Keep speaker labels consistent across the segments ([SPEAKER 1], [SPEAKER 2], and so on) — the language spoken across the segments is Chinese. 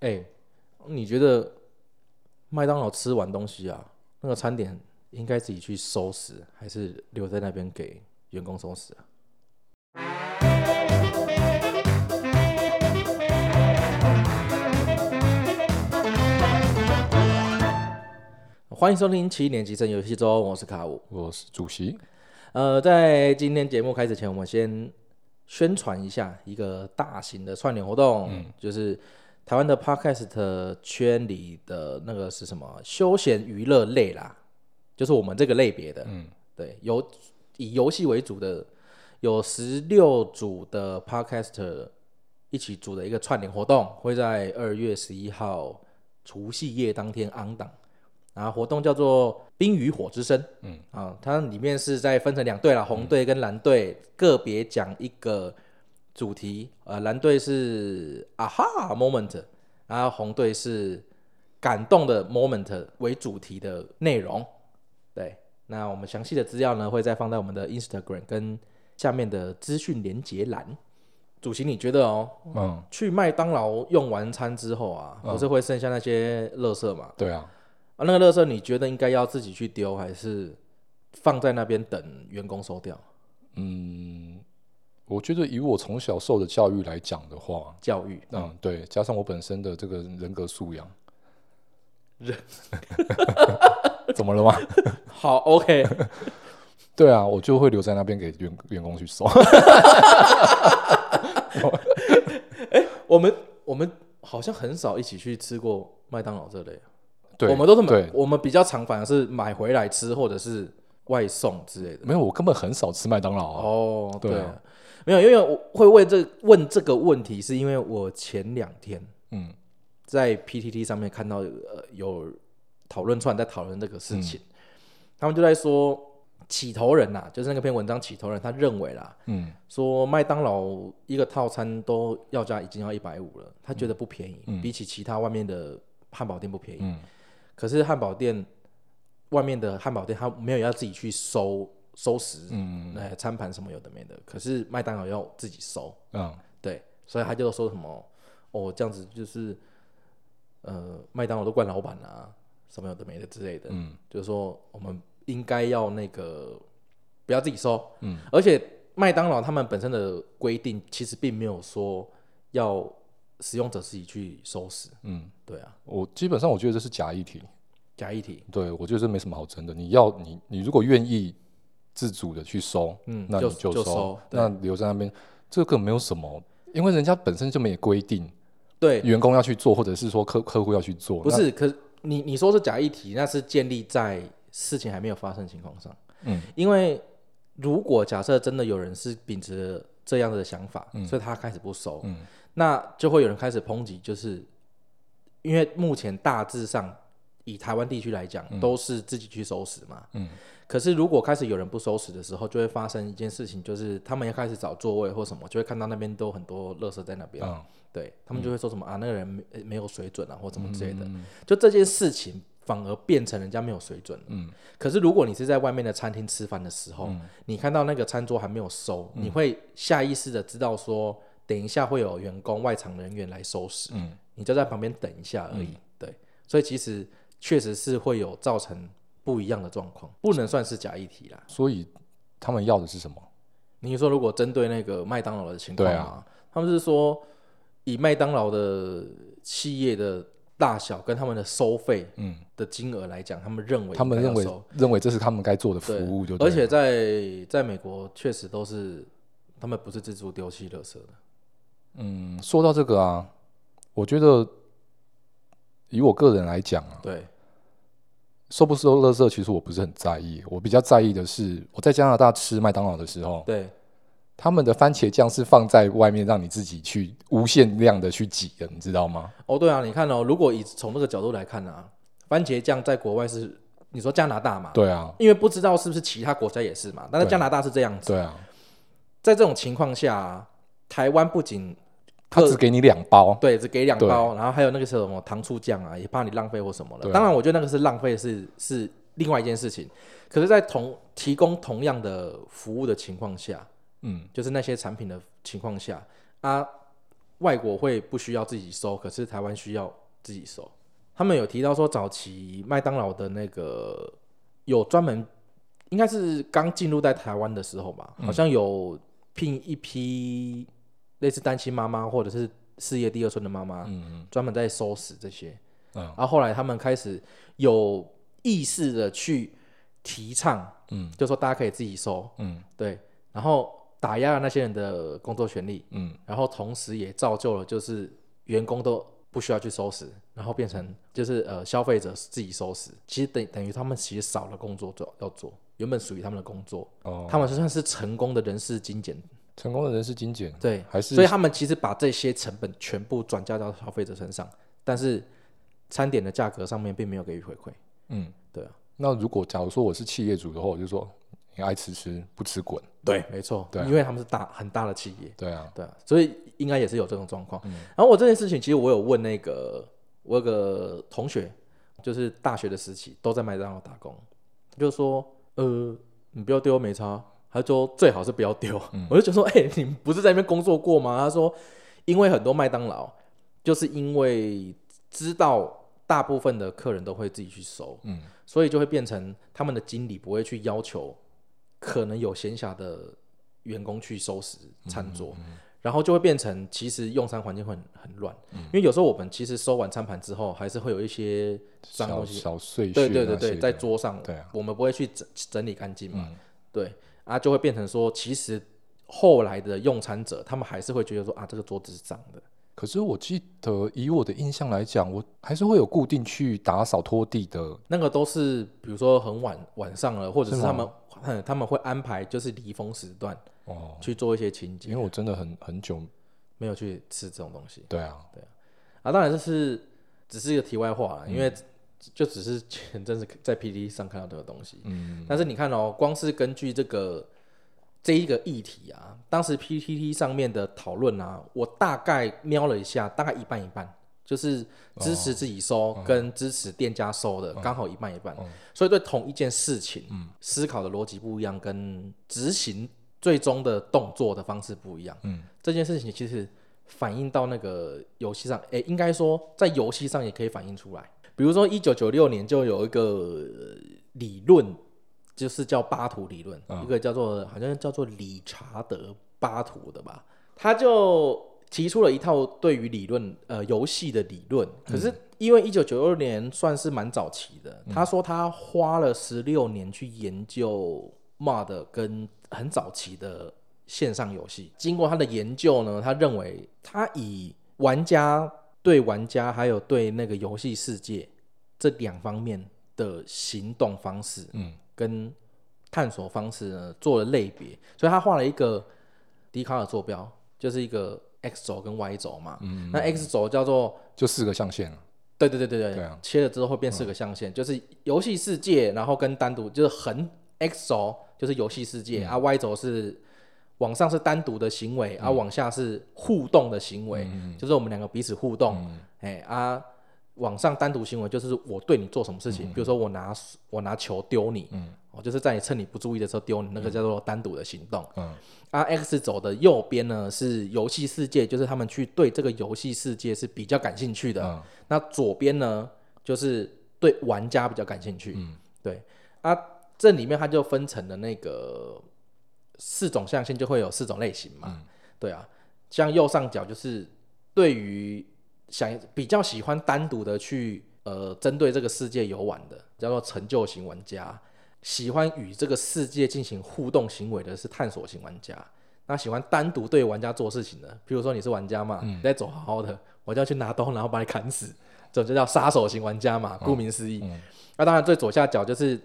[SPEAKER 1] 哎、你觉得麦当劳吃完东西啊，那个餐点应该自己去收拾，还是留在那边给员工收拾啊？欢迎收听七年级生游戏周，我是卡五。
[SPEAKER 2] 我是主席，
[SPEAKER 1] 呃，在今天节目开始前，我们先宣传一下一个大型的串联活动，就是台湾的 Podcast 圈里的那个是什么休闲娱乐类啦，就是我们这个类别的，嗯，对，游以游戏为主的有十六组的 Podcast 一起组的一个串联活动，会在二月十一号除夕夜当天昂档。然后活动叫做“冰与火之声”，啊，它里面是在分成两队啦，红队跟蓝队个别讲一个主题，呃，蓝队是啊哈 moment，然后红队是感动的 moment 为主题的内容。对，那我们详细的资料呢会再放在我们的 Instagram 跟下面的资讯连结栏。主席，你觉得哦，
[SPEAKER 2] 嗯，
[SPEAKER 1] 去麦当劳用完餐之后啊，不是会剩下那些垃圾吗？
[SPEAKER 2] 对啊，
[SPEAKER 1] 啊，那个垃圾你觉得应该要自己去丢，还是放在那边等员工收掉？
[SPEAKER 2] 我觉得以我从小受的教育来讲的话，
[SPEAKER 1] 教育
[SPEAKER 2] 嗯，对，加上我本身的这个人格素养，人 怎么了吗？
[SPEAKER 1] 好，OK，
[SPEAKER 2] 对啊，我就会留在那边给员员工去 收。
[SPEAKER 1] 我们我们好像很少一起去吃过麦当劳这类，
[SPEAKER 2] 对，
[SPEAKER 1] 我们都是买
[SPEAKER 2] 对，，
[SPEAKER 1] 我们比较常反而是买回来吃或者是外送之类的。
[SPEAKER 2] 没有，我根本很少吃麦当劳、啊。
[SPEAKER 1] 哦，对
[SPEAKER 2] 对
[SPEAKER 1] 啊，
[SPEAKER 2] 啊
[SPEAKER 1] 没有，因为我会问这问这个问题，是因为我前两天
[SPEAKER 2] 嗯
[SPEAKER 1] 在 PTT 上面看到呃有讨论串在讨论这个事情，他们就在说起头人呐、就是那篇文章起头人，他认为啦，
[SPEAKER 2] 嗯
[SPEAKER 1] 说麦当劳一个套餐都要价已经要一百五了，他觉得不便宜，比起其他外面的汉堡店不便宜。
[SPEAKER 2] 嗯
[SPEAKER 1] 可是汉堡店外面的汉堡店，他没有要自己去收收拾，
[SPEAKER 2] 嗯
[SPEAKER 1] 呃，餐盘什么有的没的。可是麦当劳要自己收，
[SPEAKER 2] 嗯，
[SPEAKER 1] 对，所以他就说什么哦，这样子就是呃，麦当劳都怪老板啊，什么有的没的之类的，
[SPEAKER 2] 嗯，
[SPEAKER 1] 就是说我们应该要那个不要自己收，嗯，而且麦当劳他们本身的规定其实并没有说要使用者自己去收拾，
[SPEAKER 2] 嗯，
[SPEAKER 1] 对啊，
[SPEAKER 2] 我基本上我觉得这是假议题。
[SPEAKER 1] 假议题，
[SPEAKER 2] 对，我觉得这没什么好争的。你要你你如果愿意自主的去收，
[SPEAKER 1] 嗯
[SPEAKER 2] 那
[SPEAKER 1] 就
[SPEAKER 2] 你就
[SPEAKER 1] 就收对
[SPEAKER 2] 那留在那边这个没有什么，因为人家本身就没有规定
[SPEAKER 1] 对，
[SPEAKER 2] 员工要去做，或者是说客客户要去做，
[SPEAKER 1] 不是，可是你你说是假议题，那是建立在事情还没有发生的情况上。
[SPEAKER 2] 嗯，
[SPEAKER 1] 因为如果假设真的有人是秉持这样的想法，所以他开始不收，
[SPEAKER 2] 嗯
[SPEAKER 1] 那就会有人开始抨击，就是因为目前大致上以台湾地区来讲，都是自己去收拾嘛。
[SPEAKER 2] 嗯，
[SPEAKER 1] 可是如果开始有人不收拾的时候，就会发生一件事情，就是他们要开始找座位或什么，就会看到那边都很多垃圾在那边。
[SPEAKER 2] 嗯
[SPEAKER 1] 对他们就会说什么、啊，那个人没没有水准啊，或怎么之类的。
[SPEAKER 2] 嗯
[SPEAKER 1] 就这件事情反而变成人家没有水准了。
[SPEAKER 2] 嗯
[SPEAKER 1] 可是如果你是在外面的餐厅吃饭的时候，你看到那个餐桌还没有收，你会下意识的知道说，等一下会有员工外场人员来收拾，
[SPEAKER 2] 嗯
[SPEAKER 1] 你就在旁边等一下而已。对，所以其实确实是会有造成不一样的状况，不能算是假议题啦。
[SPEAKER 2] 所以他们要的是什么？
[SPEAKER 1] 你说如果针对那个麦当劳的情况
[SPEAKER 2] 对
[SPEAKER 1] 啊，他们是说以麦当劳的企业的大小跟他们的收费
[SPEAKER 2] 嗯，
[SPEAKER 1] 的金额来讲，他们认为
[SPEAKER 2] 他们
[SPEAKER 1] 应该
[SPEAKER 2] 认
[SPEAKER 1] 要
[SPEAKER 2] 为
[SPEAKER 1] 收
[SPEAKER 2] 认为这是他们该做的服
[SPEAKER 1] 对
[SPEAKER 2] 务就对
[SPEAKER 1] 而
[SPEAKER 2] 了，
[SPEAKER 1] 且在在美国确实都是他们不是自助丢弃垃圾的，
[SPEAKER 2] 哦嗯，说到这个啊，我觉得以我个人来讲啊，
[SPEAKER 1] 对，
[SPEAKER 2] 收不收垃圾，其实我不是很在意，我比较在意的是我在加拿大吃麦当劳的时候，
[SPEAKER 1] 对，
[SPEAKER 2] 他们的番茄酱是放在外面让你自己去无限量的去挤的，你知道吗？
[SPEAKER 1] 哦对啊，你看哦，如果以从这个角度来看啊，番茄酱在国外是你说加拿大嘛，，
[SPEAKER 2] 对啊，
[SPEAKER 1] 因为不知道是不是其他国家也是嘛，但是
[SPEAKER 2] 对
[SPEAKER 1] 加拿大是这样子，
[SPEAKER 2] 对啊，
[SPEAKER 1] 在这种情况下啊、台湾不仅
[SPEAKER 2] 他只给你两包，
[SPEAKER 1] 对，只给两
[SPEAKER 2] 对
[SPEAKER 1] 包，然后还有那个什么糖醋酱啊，也怕你浪费或什么的。
[SPEAKER 2] 对啊
[SPEAKER 1] 当然，我觉得那个是浪费是是另外一件事情。可是，在同提供同样的服务的情况下，
[SPEAKER 2] 嗯，
[SPEAKER 1] 就是那些产品的情况下啊，外国会不需要自己收，可是台湾需要自己收。他们有提到说，早期麦当劳的那个有专门，应该是刚进入在台湾的时候吧，
[SPEAKER 2] 嗯
[SPEAKER 1] 好像有聘一批类似单亲妈妈或者是事业第二春的妈妈，
[SPEAKER 2] 嗯
[SPEAKER 1] 专门在收拾这些。
[SPEAKER 2] 嗯
[SPEAKER 1] 然后后来他们开始有意识的去提倡，
[SPEAKER 2] 嗯
[SPEAKER 1] 就说大家可以自己收，
[SPEAKER 2] 嗯
[SPEAKER 1] 对，然后打压了那些人的工作权利，
[SPEAKER 2] 嗯，
[SPEAKER 1] 然后同时也造就了就是员工都不需要去收拾，然后变成就是呃消费者自己收拾，其实等等于他们其实少了工作做要做，原本属于他们的工作，
[SPEAKER 2] 哦，
[SPEAKER 1] 他们算是成功的人事精简，
[SPEAKER 2] 成功的人是精简，
[SPEAKER 1] 对，
[SPEAKER 2] 还是
[SPEAKER 1] 所以他们其实把这些成本全部转嫁到消费者身上，但是餐点的价格上面并没有给予回馈，
[SPEAKER 2] 嗯，
[SPEAKER 1] 对啊，
[SPEAKER 2] 那如果假如说我是企业主的话，我就说你爱吃吃，不吃滚。
[SPEAKER 1] 对，没错，
[SPEAKER 2] 对啊
[SPEAKER 1] 因为他们是大很大的企业，
[SPEAKER 2] 对啊，
[SPEAKER 1] 对啊，所以应该也是有这种状况。然后我这件事情，其实我有问那个我有个同学，就是大学的时期都在麦当劳打工，就说呃，你不要丢没差，他说最好是不要丢。我就觉得说，哎、你们不是在那边工作过吗？他说，因为很多麦当劳就是因为知道。大部分的客人都会自己去收，
[SPEAKER 2] 嗯，
[SPEAKER 1] 所以就会变成他们的经理不会去要求可能有闲暇的员工去收拾餐桌，
[SPEAKER 2] 嗯
[SPEAKER 1] 然后就会变成其实用餐环境会很很乱，
[SPEAKER 2] 嗯
[SPEAKER 1] 因为有时候我们其实收完餐盘之后，还是会有一些脏
[SPEAKER 2] 小
[SPEAKER 1] 东西，
[SPEAKER 2] 小碎
[SPEAKER 1] 对
[SPEAKER 2] 屑那些啊
[SPEAKER 1] 对
[SPEAKER 2] 的，
[SPEAKER 1] 对对，在桌上，
[SPEAKER 2] 对啊，
[SPEAKER 1] 我们不会去整整理干净嘛，
[SPEAKER 2] 嗯
[SPEAKER 1] 对啊，就会变成说，其实后来的用餐者他们还是会觉得说啊，这个桌子是脏的，
[SPEAKER 2] 可是我记得以我的印象来讲，我还是会有固定去打扫拖地的。
[SPEAKER 1] 那个都是比如说很晚晚上了，或者是
[SPEAKER 2] 是吗
[SPEAKER 1] 他们嗯他们会安排就是离峰时段
[SPEAKER 2] 哦，
[SPEAKER 1] 去做一些清洁
[SPEAKER 2] 因为，我真的很很久，
[SPEAKER 1] 没有去吃这种东西。
[SPEAKER 2] 对啊，
[SPEAKER 1] 啊，当然这是只是一个题外话啦，因
[SPEAKER 2] 嗯
[SPEAKER 1] 为就只是前阵子在 PD 上看到这个东西。
[SPEAKER 2] 嗯，
[SPEAKER 1] 但是你看哦，光是根据这个这一个议题啊，当时 PTT 上面的讨论啊，我大概瞄了一下，大概一半一半，就是支
[SPEAKER 2] 哦
[SPEAKER 1] 持自己收
[SPEAKER 2] 嗯
[SPEAKER 1] 跟支持店家收的，刚、好一半一半。所以对同一件事情，
[SPEAKER 2] 嗯
[SPEAKER 1] 思考的逻辑不一样，跟执行最终的动作的方式不一样。
[SPEAKER 2] 嗯，
[SPEAKER 1] 这件事情其实反映到那个游戏上，诶、应该说在游戏上也可以反映出来。比如说，一九九六年就有一个呃理论，就是叫巴图理论，一个叫做好像叫做理查德巴图的吧，他就提出了一套对于理论呃游戏的理论。可是因为一九九六年算是蛮早期的，嗯他说他花了十六年去研究 MOD 跟很早期的线上游戏。经过他的研究呢，他认为他以玩家对玩家还有对那个游戏世界这两方面的行动方式，
[SPEAKER 2] 嗯，
[SPEAKER 1] 跟探索方式呢做了类别，所以他画了一个笛卡尔坐标，就是一个 x 轴跟 y 轴嘛，嗯，那 x 轴叫做
[SPEAKER 2] 就四个象限啊，
[SPEAKER 1] 对对对对对，
[SPEAKER 2] 对啊
[SPEAKER 1] 切了之后会变四个象限，就是游戏世界，然后跟单独就是横 x 轴就是游戏世
[SPEAKER 2] 嗯
[SPEAKER 1] 界、啊，y 轴是往上是单独的行为，啊往下是互动的行为，
[SPEAKER 2] 嗯
[SPEAKER 1] 就是我们两个彼此互动，哎、啊往上单独行为就是我对你做什么事情，
[SPEAKER 2] 嗯
[SPEAKER 1] 比如说我拿我拿球丢你，哦就是在你趁你不注意的时候丢你，那个叫做单独的行动。
[SPEAKER 2] 嗯
[SPEAKER 1] 啊，X 轴的右边呢是游戏世界，就是他们去对这个游戏世界是比较感兴趣的。
[SPEAKER 2] 嗯
[SPEAKER 1] 那左边呢就是对玩家比较感兴趣。
[SPEAKER 2] 嗯
[SPEAKER 1] 对啊，这里面它就分成了那个四种象限，就会有四种类型嘛。对啊，像右上角就是对于想比较喜欢单独的去呃针对这个世界游玩的，叫做成就型玩家；喜欢与这个世界进行互动行为的是探索型玩家。那喜欢单独对玩家做事情的，比如说你是玩家
[SPEAKER 2] 嗯
[SPEAKER 1] 嘛，你在走好好的，我就要去拿刀，然后把你砍死，这种就叫杀手型玩家嘛，
[SPEAKER 2] 哦
[SPEAKER 1] 顾名思义。
[SPEAKER 2] 嗯
[SPEAKER 1] 那当然最左下角就是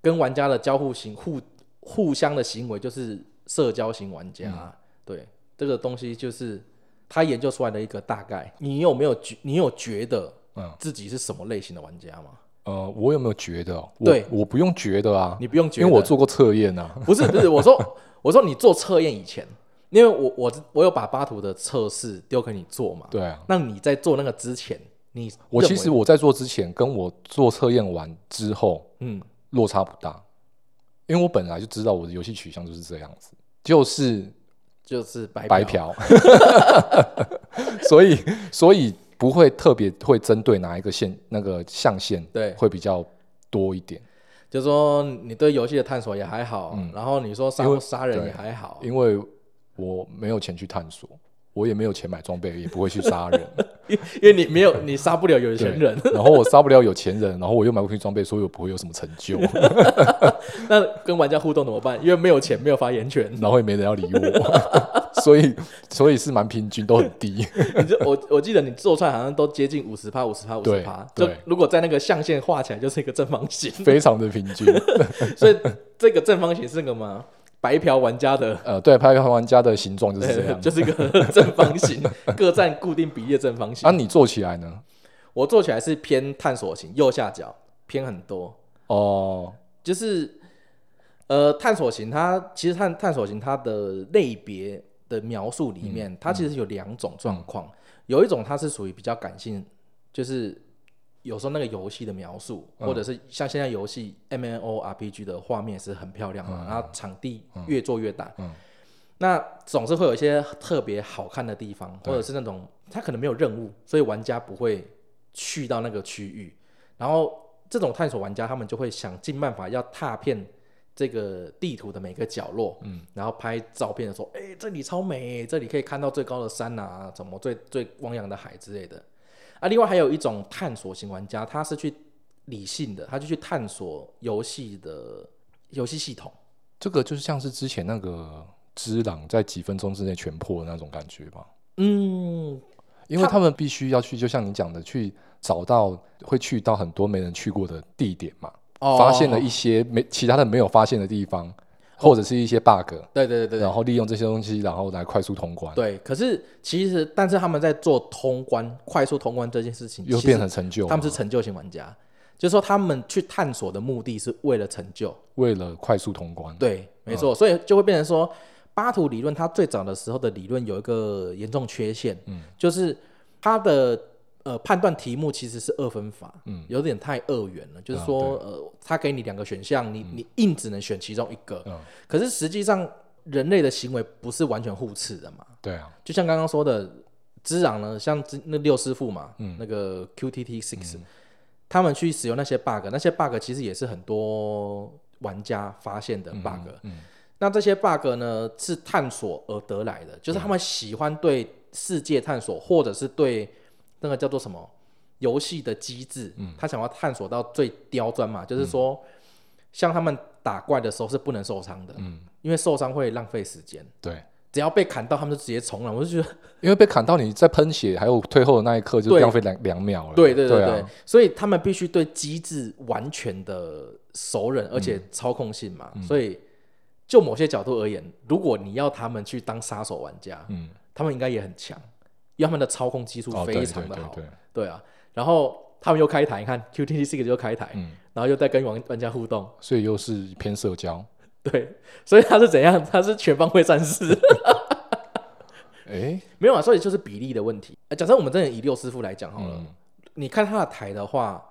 [SPEAKER 1] 跟玩家的交互行互互相的行为，就是社交型玩家。
[SPEAKER 2] 嗯
[SPEAKER 1] 对，这个东西就是他研究出来的一个大概。你有没有觉你有觉得
[SPEAKER 2] 嗯
[SPEAKER 1] 自己是什么类型的玩家吗？
[SPEAKER 2] 呃，我有没有觉得哦？我
[SPEAKER 1] 对
[SPEAKER 2] 我不用觉得啊，
[SPEAKER 1] 你不用觉
[SPEAKER 2] 因
[SPEAKER 1] 得，
[SPEAKER 2] 为我做过测验啊。
[SPEAKER 1] 不是不是，我说我说你做测验以前，因为我我我有把巴图的测试丢给你做嘛。
[SPEAKER 2] 对啊，
[SPEAKER 1] 那你在做那个之前，你
[SPEAKER 2] 我
[SPEAKER 1] 认
[SPEAKER 2] 其
[SPEAKER 1] 为
[SPEAKER 2] 实我在做之前，跟我做测验完之后
[SPEAKER 1] 嗯
[SPEAKER 2] 落差不大，因为我本来就知道我的游戏取向就是这样子，就是
[SPEAKER 1] 就是白
[SPEAKER 2] 白嫖， 所以所以不会特别会针对哪一个线那个象限，
[SPEAKER 1] 对
[SPEAKER 2] 会比较多一点，
[SPEAKER 1] 就说你对游戏的探索也还好，
[SPEAKER 2] 嗯
[SPEAKER 1] 然后你说杀不杀人也还好，
[SPEAKER 2] 因为我没有钱去探索，我也没有钱买装备，也不会去杀人，
[SPEAKER 1] 因因为你没有你杀不了有钱人，
[SPEAKER 2] 对然后我杀不了有钱人，然后我又买不起装备，所以我不会有什么成就，
[SPEAKER 1] 那跟玩家互动怎么办？因为没有钱，没有发言权。
[SPEAKER 2] 然后也没人要理我，所以所以是蛮平均，都很低，
[SPEAKER 1] 你就我我记得你做出来好像都接近五十趴，五十趴，五十趴。
[SPEAKER 2] 对
[SPEAKER 1] 就
[SPEAKER 2] 对
[SPEAKER 1] 如果在那个象限画起来，就是一个正方形。
[SPEAKER 2] 非常的平均。
[SPEAKER 1] 所以这个正方形是个嘛白嫖玩家的，
[SPEAKER 2] 呃，对，拍拍玩家的形状就是这样。
[SPEAKER 1] 就是一个 正方形，各占固定比例的正方形。
[SPEAKER 2] 啊，你做起来呢？
[SPEAKER 1] 我做起来是偏探索型，右下角偏很多，
[SPEAKER 2] 哦，
[SPEAKER 1] 就是呃探索型它，其实探探索型它的类别的描述里面，
[SPEAKER 2] 嗯
[SPEAKER 1] 它其实有两种状况，有一种它是属于比较感性，就是有时候那个游戏的描述，
[SPEAKER 2] 嗯
[SPEAKER 1] 或者是像现在游戏 M N O R P G 的画面是很漂亮嘛，然后场地越做越大，
[SPEAKER 2] 嗯
[SPEAKER 1] 那总是会有一些特别好看的地方，
[SPEAKER 2] 对
[SPEAKER 1] 或者是那种它可能没有任务，所以玩家不会去到那个区域。然后这种探索玩家，他们就会想尽办法要踏遍这个地图的每个角落，嗯，然后拍照片的时候，哎、这里超美，这里可以看到最高的山啊，怎么最最汪洋的海之类的。啊，另外还有一种探索型玩家，他是去理性的，他就去探索游戏的游戏系统。
[SPEAKER 2] 这个就是像是之前那个之朗在几分钟之内全破的那种感觉吧，
[SPEAKER 1] 嗯，
[SPEAKER 2] 因为他们必须要去，就像你讲的，去找到会去到很多没人去过的地点嘛，
[SPEAKER 1] 哦
[SPEAKER 2] 发现了一些没其他的没有发现的地方，或者是一些 bug，、
[SPEAKER 1] 对对对对，
[SPEAKER 2] 然后利用这些东西，然后来快速通关，
[SPEAKER 1] 对，可是其实，但是他们在做通关、快速通关这件事情，
[SPEAKER 2] 又
[SPEAKER 1] 其实
[SPEAKER 2] 变成成就嘛。
[SPEAKER 1] 他们是成就型玩家，就是说他们去探索的目的是为了成就。
[SPEAKER 2] 为了快速通关，
[SPEAKER 1] 对，没错，所以就会变成说，巴图理论它最早的时候的理论有一个严重缺陷，嗯，就是它的呃判断题目其实是二分法，嗯，有点太二元了，就是说、呃，它给你两个选项，你、你硬只能选其中一个，
[SPEAKER 2] 嗯
[SPEAKER 1] 可是实际上人类的行为不是完全互斥的嘛。
[SPEAKER 2] 对啊，
[SPEAKER 1] 就像刚刚说的，知壤呢，像之那六师傅嘛，那个 QTT Six，、他们去使用那些 bug，那些 bug 其实也是很多玩家发现的 bug。那这些 bug 呢，是探索而得来的，就是他们喜欢对世界探索，或者是对那个叫做什么游戏的机制，他想要探索到最刁钻嘛，就是说，像他们打怪的时候是不能受伤的，因为受伤会浪费时间。
[SPEAKER 2] 对，
[SPEAKER 1] 只要被砍到，他们就直接冲了。我就觉得，
[SPEAKER 2] 因为被砍到你在喷血还有退后的那一刻，就
[SPEAKER 1] 对
[SPEAKER 2] 浪费两两秒了。
[SPEAKER 1] 对对对
[SPEAKER 2] 对
[SPEAKER 1] 对，
[SPEAKER 2] 啊，
[SPEAKER 1] 所以他们必须对机制完全的熟人，而
[SPEAKER 2] 嗯
[SPEAKER 1] 且操控性嘛。所以就某些角度而言，如果你要他们去当杀手玩家，
[SPEAKER 2] 嗯，
[SPEAKER 1] 他们应该也很强，因为他们的操控技术
[SPEAKER 2] 哦，对
[SPEAKER 1] 非
[SPEAKER 2] 对
[SPEAKER 1] 常的
[SPEAKER 2] 对
[SPEAKER 1] 好。
[SPEAKER 2] 对，
[SPEAKER 1] 对啊，然后他们又开台，你看 QTT Six 就开台，
[SPEAKER 2] 嗯
[SPEAKER 1] 然后又在跟玩玩家互动。
[SPEAKER 2] 所以又是偏社交。
[SPEAKER 1] 对，所以他是怎样？他是全方位战士。
[SPEAKER 2] 哎，
[SPEAKER 1] 没有啊，所以就是比例的问题。呃假设我们真的以六师傅来讲好了，
[SPEAKER 2] 嗯
[SPEAKER 1] 你看他的台的话，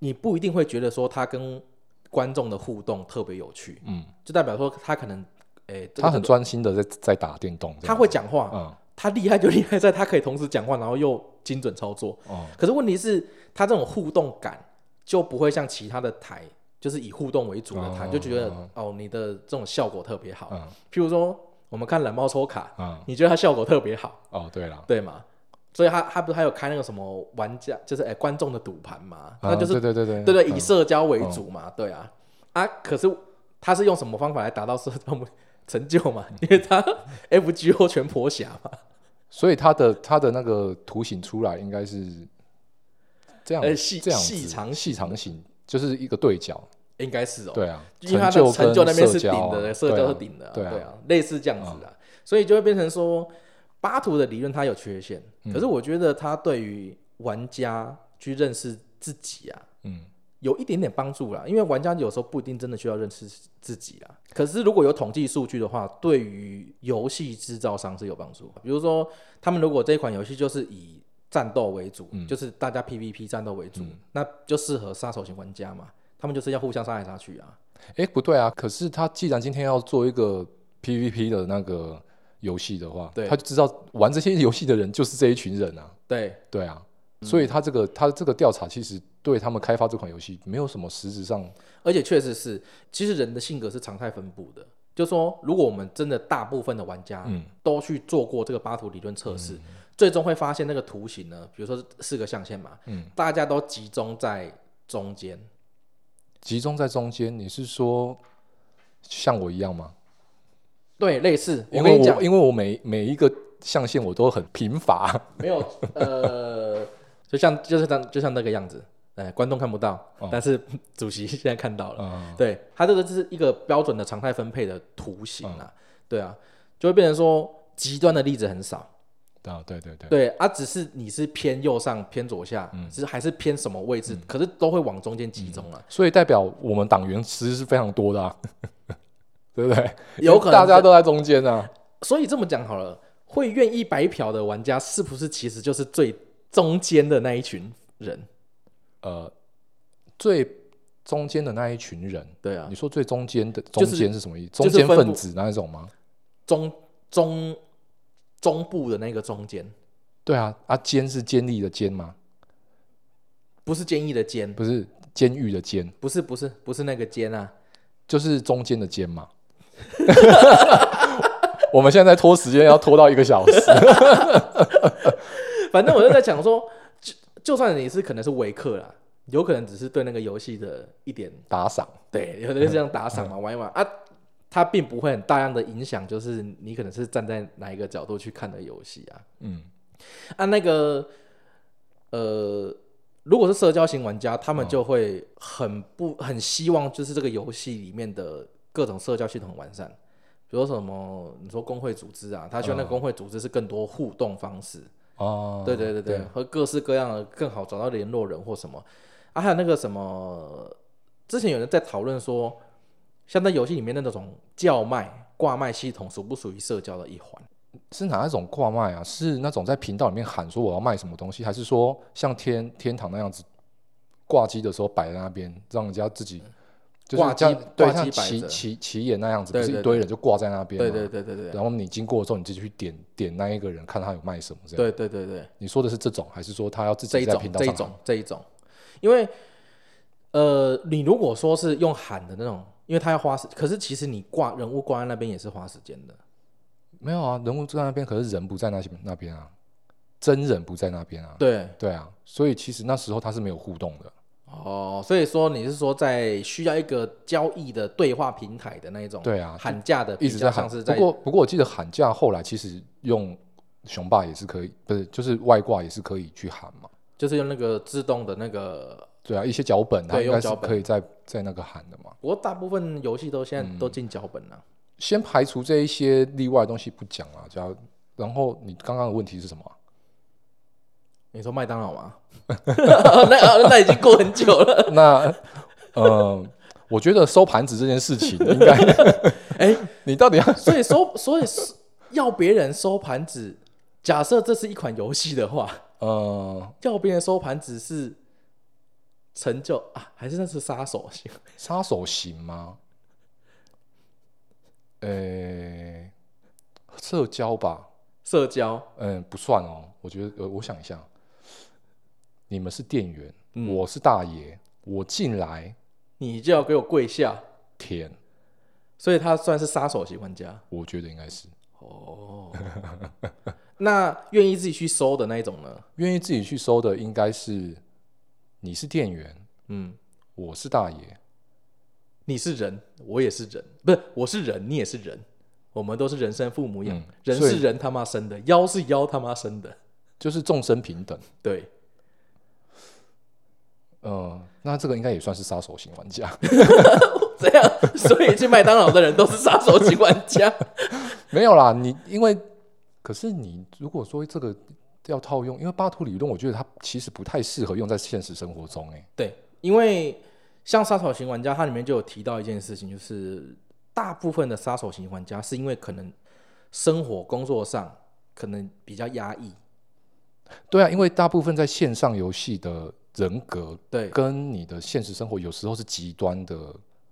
[SPEAKER 1] 你不一定会觉得说他跟观众的互动特别有趣，
[SPEAKER 2] 嗯，
[SPEAKER 1] 就代表说他可能，诶、这个
[SPEAKER 2] 他很专心的在在打电动，
[SPEAKER 1] 他会讲话，
[SPEAKER 2] 嗯
[SPEAKER 1] 他厉害就厉害在他可以同时讲话，然后又精准操作。
[SPEAKER 2] 哦
[SPEAKER 1] 可是问题是，他这种互动感就不会像其他的台，就是以互动为主的台，
[SPEAKER 2] 哦
[SPEAKER 1] 就觉得
[SPEAKER 2] 哦
[SPEAKER 1] 哦，你的这种效果特别好。
[SPEAKER 2] 嗯
[SPEAKER 1] 譬如说，我们看懒猫抽卡，
[SPEAKER 2] 嗯
[SPEAKER 1] 你觉得它效果特别好，
[SPEAKER 2] 哦，对了，
[SPEAKER 1] 对嘛？所以他他不是还有开那个什么玩家，就是哎、观众的赌盘嘛，那
[SPEAKER 2] 啊
[SPEAKER 1] 就是、
[SPEAKER 2] 对对对
[SPEAKER 1] 对对
[SPEAKER 2] 嗯哦
[SPEAKER 1] 以社交为主嘛，对啊啊，可是他是用什么方法来达到社交目成就嘛？
[SPEAKER 2] 嗯
[SPEAKER 1] 因为他 FGO 全破侠嘛，
[SPEAKER 2] 所以他的他的那个图形出来应该是这样
[SPEAKER 1] 呃，细
[SPEAKER 2] 这样子
[SPEAKER 1] 细长型
[SPEAKER 2] 细长型，就是一个对角，
[SPEAKER 1] 应该是哦，
[SPEAKER 2] 对啊，
[SPEAKER 1] 因为他的成就
[SPEAKER 2] 就
[SPEAKER 1] 那
[SPEAKER 2] 跟
[SPEAKER 1] 边是
[SPEAKER 2] 社
[SPEAKER 1] 顶
[SPEAKER 2] 交啊
[SPEAKER 1] 的，社
[SPEAKER 2] 对
[SPEAKER 1] 交
[SPEAKER 2] 啊
[SPEAKER 1] 是顶的啊，
[SPEAKER 2] 对啊嗯
[SPEAKER 1] 对啊，类似这样子啊，所以就会变成说巴图的理论它有缺陷，
[SPEAKER 2] 嗯
[SPEAKER 1] 可是我觉得它对于玩家去认识自己啊，
[SPEAKER 2] 嗯，
[SPEAKER 1] 有一点点帮助啦，因为玩家有时候不一定真的需要认识自己啦。可是如果有统计数据的话，对于游戏制造商是有帮助。比如说，他们如果这一款游戏就是以战斗为主，就是大家 PVP 战斗为主，那就适合杀手型玩家嘛。他们就是要互相杀来杀去啊。
[SPEAKER 2] 哎，不对啊，可是他既然今天要做一个 PVP 的那个游戏的话，
[SPEAKER 1] 对
[SPEAKER 2] 他就知道玩这些游戏的人就是这一群人啊，
[SPEAKER 1] 对，
[SPEAKER 2] 对啊，
[SPEAKER 1] 嗯
[SPEAKER 2] 所以他这个他这个调查其实对他们开发这款游戏没有什么实质上，
[SPEAKER 1] 而且确实是，其实人的性格是常态分布的。就说，如果我们真的大部分的玩家
[SPEAKER 2] 嗯
[SPEAKER 1] 都去做过这个巴图理论测试，最终会发现那个图形呢，比如说是四个象限嘛，
[SPEAKER 2] 嗯，
[SPEAKER 1] 大家都集中在中间，
[SPEAKER 2] 集中在中间。你是说像我一样吗？
[SPEAKER 1] 对，类似。
[SPEAKER 2] 因
[SPEAKER 1] 我
[SPEAKER 2] 为
[SPEAKER 1] 跟你讲
[SPEAKER 2] 我，因为我每每一个象限我都很贫乏，
[SPEAKER 1] 没有，呃，就像就是像就像那个样子，哎，观众看不到，
[SPEAKER 2] 哦
[SPEAKER 1] 但是 主席现在看到了。
[SPEAKER 2] 嗯，
[SPEAKER 1] 对，它这个就是一个标准的常态分配的图形
[SPEAKER 2] 哦
[SPEAKER 1] 啊，对啊，就会变成说极端的例子很少。
[SPEAKER 2] 啊，对对对，
[SPEAKER 1] 对啊，只是你是偏右上、偏左下，
[SPEAKER 2] 嗯
[SPEAKER 1] 是还是偏什么位置，可是都会往中间集中啊。
[SPEAKER 2] 所以代表我们党员其实是非常多的、啊， 对不对？
[SPEAKER 1] 有可能
[SPEAKER 2] 大家
[SPEAKER 1] 是
[SPEAKER 2] 都在中间啊，
[SPEAKER 1] 所以这么讲好了，会愿意白嫖的玩家，是不是其实就是最中间的那一群人？
[SPEAKER 2] 呃，最中间的那一群人。
[SPEAKER 1] 对啊
[SPEAKER 2] 你，说最中间的中
[SPEAKER 1] 就是
[SPEAKER 2] 间是什么意思？
[SPEAKER 1] 就是
[SPEAKER 2] 中间
[SPEAKER 1] 分布
[SPEAKER 2] 分子那一种吗？
[SPEAKER 1] 中中中部的那个中间，
[SPEAKER 2] 对啊，啊，监是监利的监吗？
[SPEAKER 1] 不是监狱的监，
[SPEAKER 2] 不是监狱的监，
[SPEAKER 1] 不是不是不是那个监啊，
[SPEAKER 2] 就是中间的 监嘛。我们现在在拖时间，要拖到一个小时。
[SPEAKER 1] 反正我就在想说，就就算你是可能是维克啦，有可能只是对那个游戏的一点
[SPEAKER 2] 打赏，
[SPEAKER 1] 对，有的是这样打赏嘛，玩一玩啊，它并不会很大量的影响，就是你可能是站在哪一个角度去看的游戏啊
[SPEAKER 2] 嗯，
[SPEAKER 1] 啊，那个呃，如果是社交型玩家，他们就会很不很希望就是这个游戏里面的各种社交系统很完善，比如说什么你说工会组织啊，他希望那个工会组织是更多互动方式，
[SPEAKER 2] 哦，
[SPEAKER 1] 对对对对，和各式各样的更好找到联络人或什么啊，还有那个什么，之前有人在讨论说，像在游戏里面那种叫卖、挂卖系统属不属于社交的一环？
[SPEAKER 2] 是哪一种挂卖啊？是那种在频道里面喊说我要卖什么东西，还是说像天天堂那样子挂机的时候摆在那边，让人家自己就
[SPEAKER 1] 嗯
[SPEAKER 2] 是
[SPEAKER 1] 挂机
[SPEAKER 2] 像对
[SPEAKER 1] 挂机
[SPEAKER 2] 像
[SPEAKER 1] 摆
[SPEAKER 2] 起
[SPEAKER 1] 着
[SPEAKER 2] 起起眼那样子，不
[SPEAKER 1] 对
[SPEAKER 2] 是
[SPEAKER 1] 对
[SPEAKER 2] 一堆人就挂在那边
[SPEAKER 1] 对
[SPEAKER 2] 吗？
[SPEAKER 1] 对对对对
[SPEAKER 2] 然后你经过的时候，你自己去点点那一个人，看他有卖什么这样。
[SPEAKER 1] 对对对对，
[SPEAKER 2] 你说的是这种，还是说他要自
[SPEAKER 1] 这
[SPEAKER 2] 己
[SPEAKER 1] 一
[SPEAKER 2] 在
[SPEAKER 1] 种
[SPEAKER 2] 频道
[SPEAKER 1] 这一
[SPEAKER 2] 上？
[SPEAKER 1] 种这一种，因为呃，你如果说是用喊的那种，因为他要花时，可是其实你挂人物挂在那边也是花时间的。
[SPEAKER 2] 没有啊，人物在那边，可是人不在那些那边啊，真人不在那边啊。
[SPEAKER 1] 对
[SPEAKER 2] 对啊，所以其实那时候他是没有互动的。
[SPEAKER 1] 哦，所以说你是说在需要一个交易的对话平台的那一种？
[SPEAKER 2] 对啊，
[SPEAKER 1] 喊价的，
[SPEAKER 2] 一直在喊
[SPEAKER 1] 像。是
[SPEAKER 2] 不
[SPEAKER 1] 在
[SPEAKER 2] 过不过我记得喊价后来其实用雄霸也是可以，不是就是外挂也是可以去喊嘛。
[SPEAKER 1] 就是用那个自动的那个，
[SPEAKER 2] 对啊，一些脚本它
[SPEAKER 1] 对
[SPEAKER 2] 应该
[SPEAKER 1] 用
[SPEAKER 2] 是
[SPEAKER 1] 脚本
[SPEAKER 2] 可以在在那个喊的嘛。
[SPEAKER 1] 不过大部分游戏都现在
[SPEAKER 2] 嗯
[SPEAKER 1] 都进脚本了、
[SPEAKER 2] 先排除这一些例外的东西不讲啊，只要然后你刚刚的问题是什么啊？
[SPEAKER 1] 你说麦当劳吗？ 那那已经过很久了。
[SPEAKER 2] 那呃，我觉得收盘子这件事情应该，
[SPEAKER 1] 哎
[SPEAKER 2] 你到底要
[SPEAKER 1] 所以收，所以是要别人收盘子，假设这是一款游戏的话，
[SPEAKER 2] 呃
[SPEAKER 1] 要别人收盘子是成就啊，还是那是杀手型？
[SPEAKER 2] 杀手型吗？呃、社交吧，
[SPEAKER 1] 社交？
[SPEAKER 2] 嗯，不算哦。我觉得，呃，我想一下，你们是店员，
[SPEAKER 1] 嗯
[SPEAKER 2] 我是大爷，我进来
[SPEAKER 1] 你就要给我跪下，
[SPEAKER 2] 舔，
[SPEAKER 1] 所以他算是杀手型玩家。
[SPEAKER 2] 我觉得应该是
[SPEAKER 1] 哦， 那愿意自己去收的那一种呢？
[SPEAKER 2] 愿意自己去收的，应该是你是店员，
[SPEAKER 1] 嗯，
[SPEAKER 2] 我是大爷，
[SPEAKER 1] 你是人，我也是人，不是我是人，你也是人，我们都是人生父母养，
[SPEAKER 2] 嗯
[SPEAKER 1] 人
[SPEAKER 2] 所以
[SPEAKER 1] 是人他妈生的，妖是妖他妈生的，
[SPEAKER 2] 就是众生平等。
[SPEAKER 1] 对，
[SPEAKER 2] 嗯，那这个应该也算是杀手型玩家，
[SPEAKER 1] 这样，所以去麦当劳的人都是杀手级玩 家，
[SPEAKER 2] 没有啦，你因为可是你如果说这个要套用，因为巴图理论，我觉得它其实不太适合用在现实生活中、欸，
[SPEAKER 1] 对，因为像杀手型玩家，它里面就有提到一件事情，就是大部分的杀手型玩家是因为可能生活工作上可能比较压抑，
[SPEAKER 2] 对啊，因为大部分在线上游戏的人格
[SPEAKER 1] 对，
[SPEAKER 2] 跟你的现实生活有时候是极端的，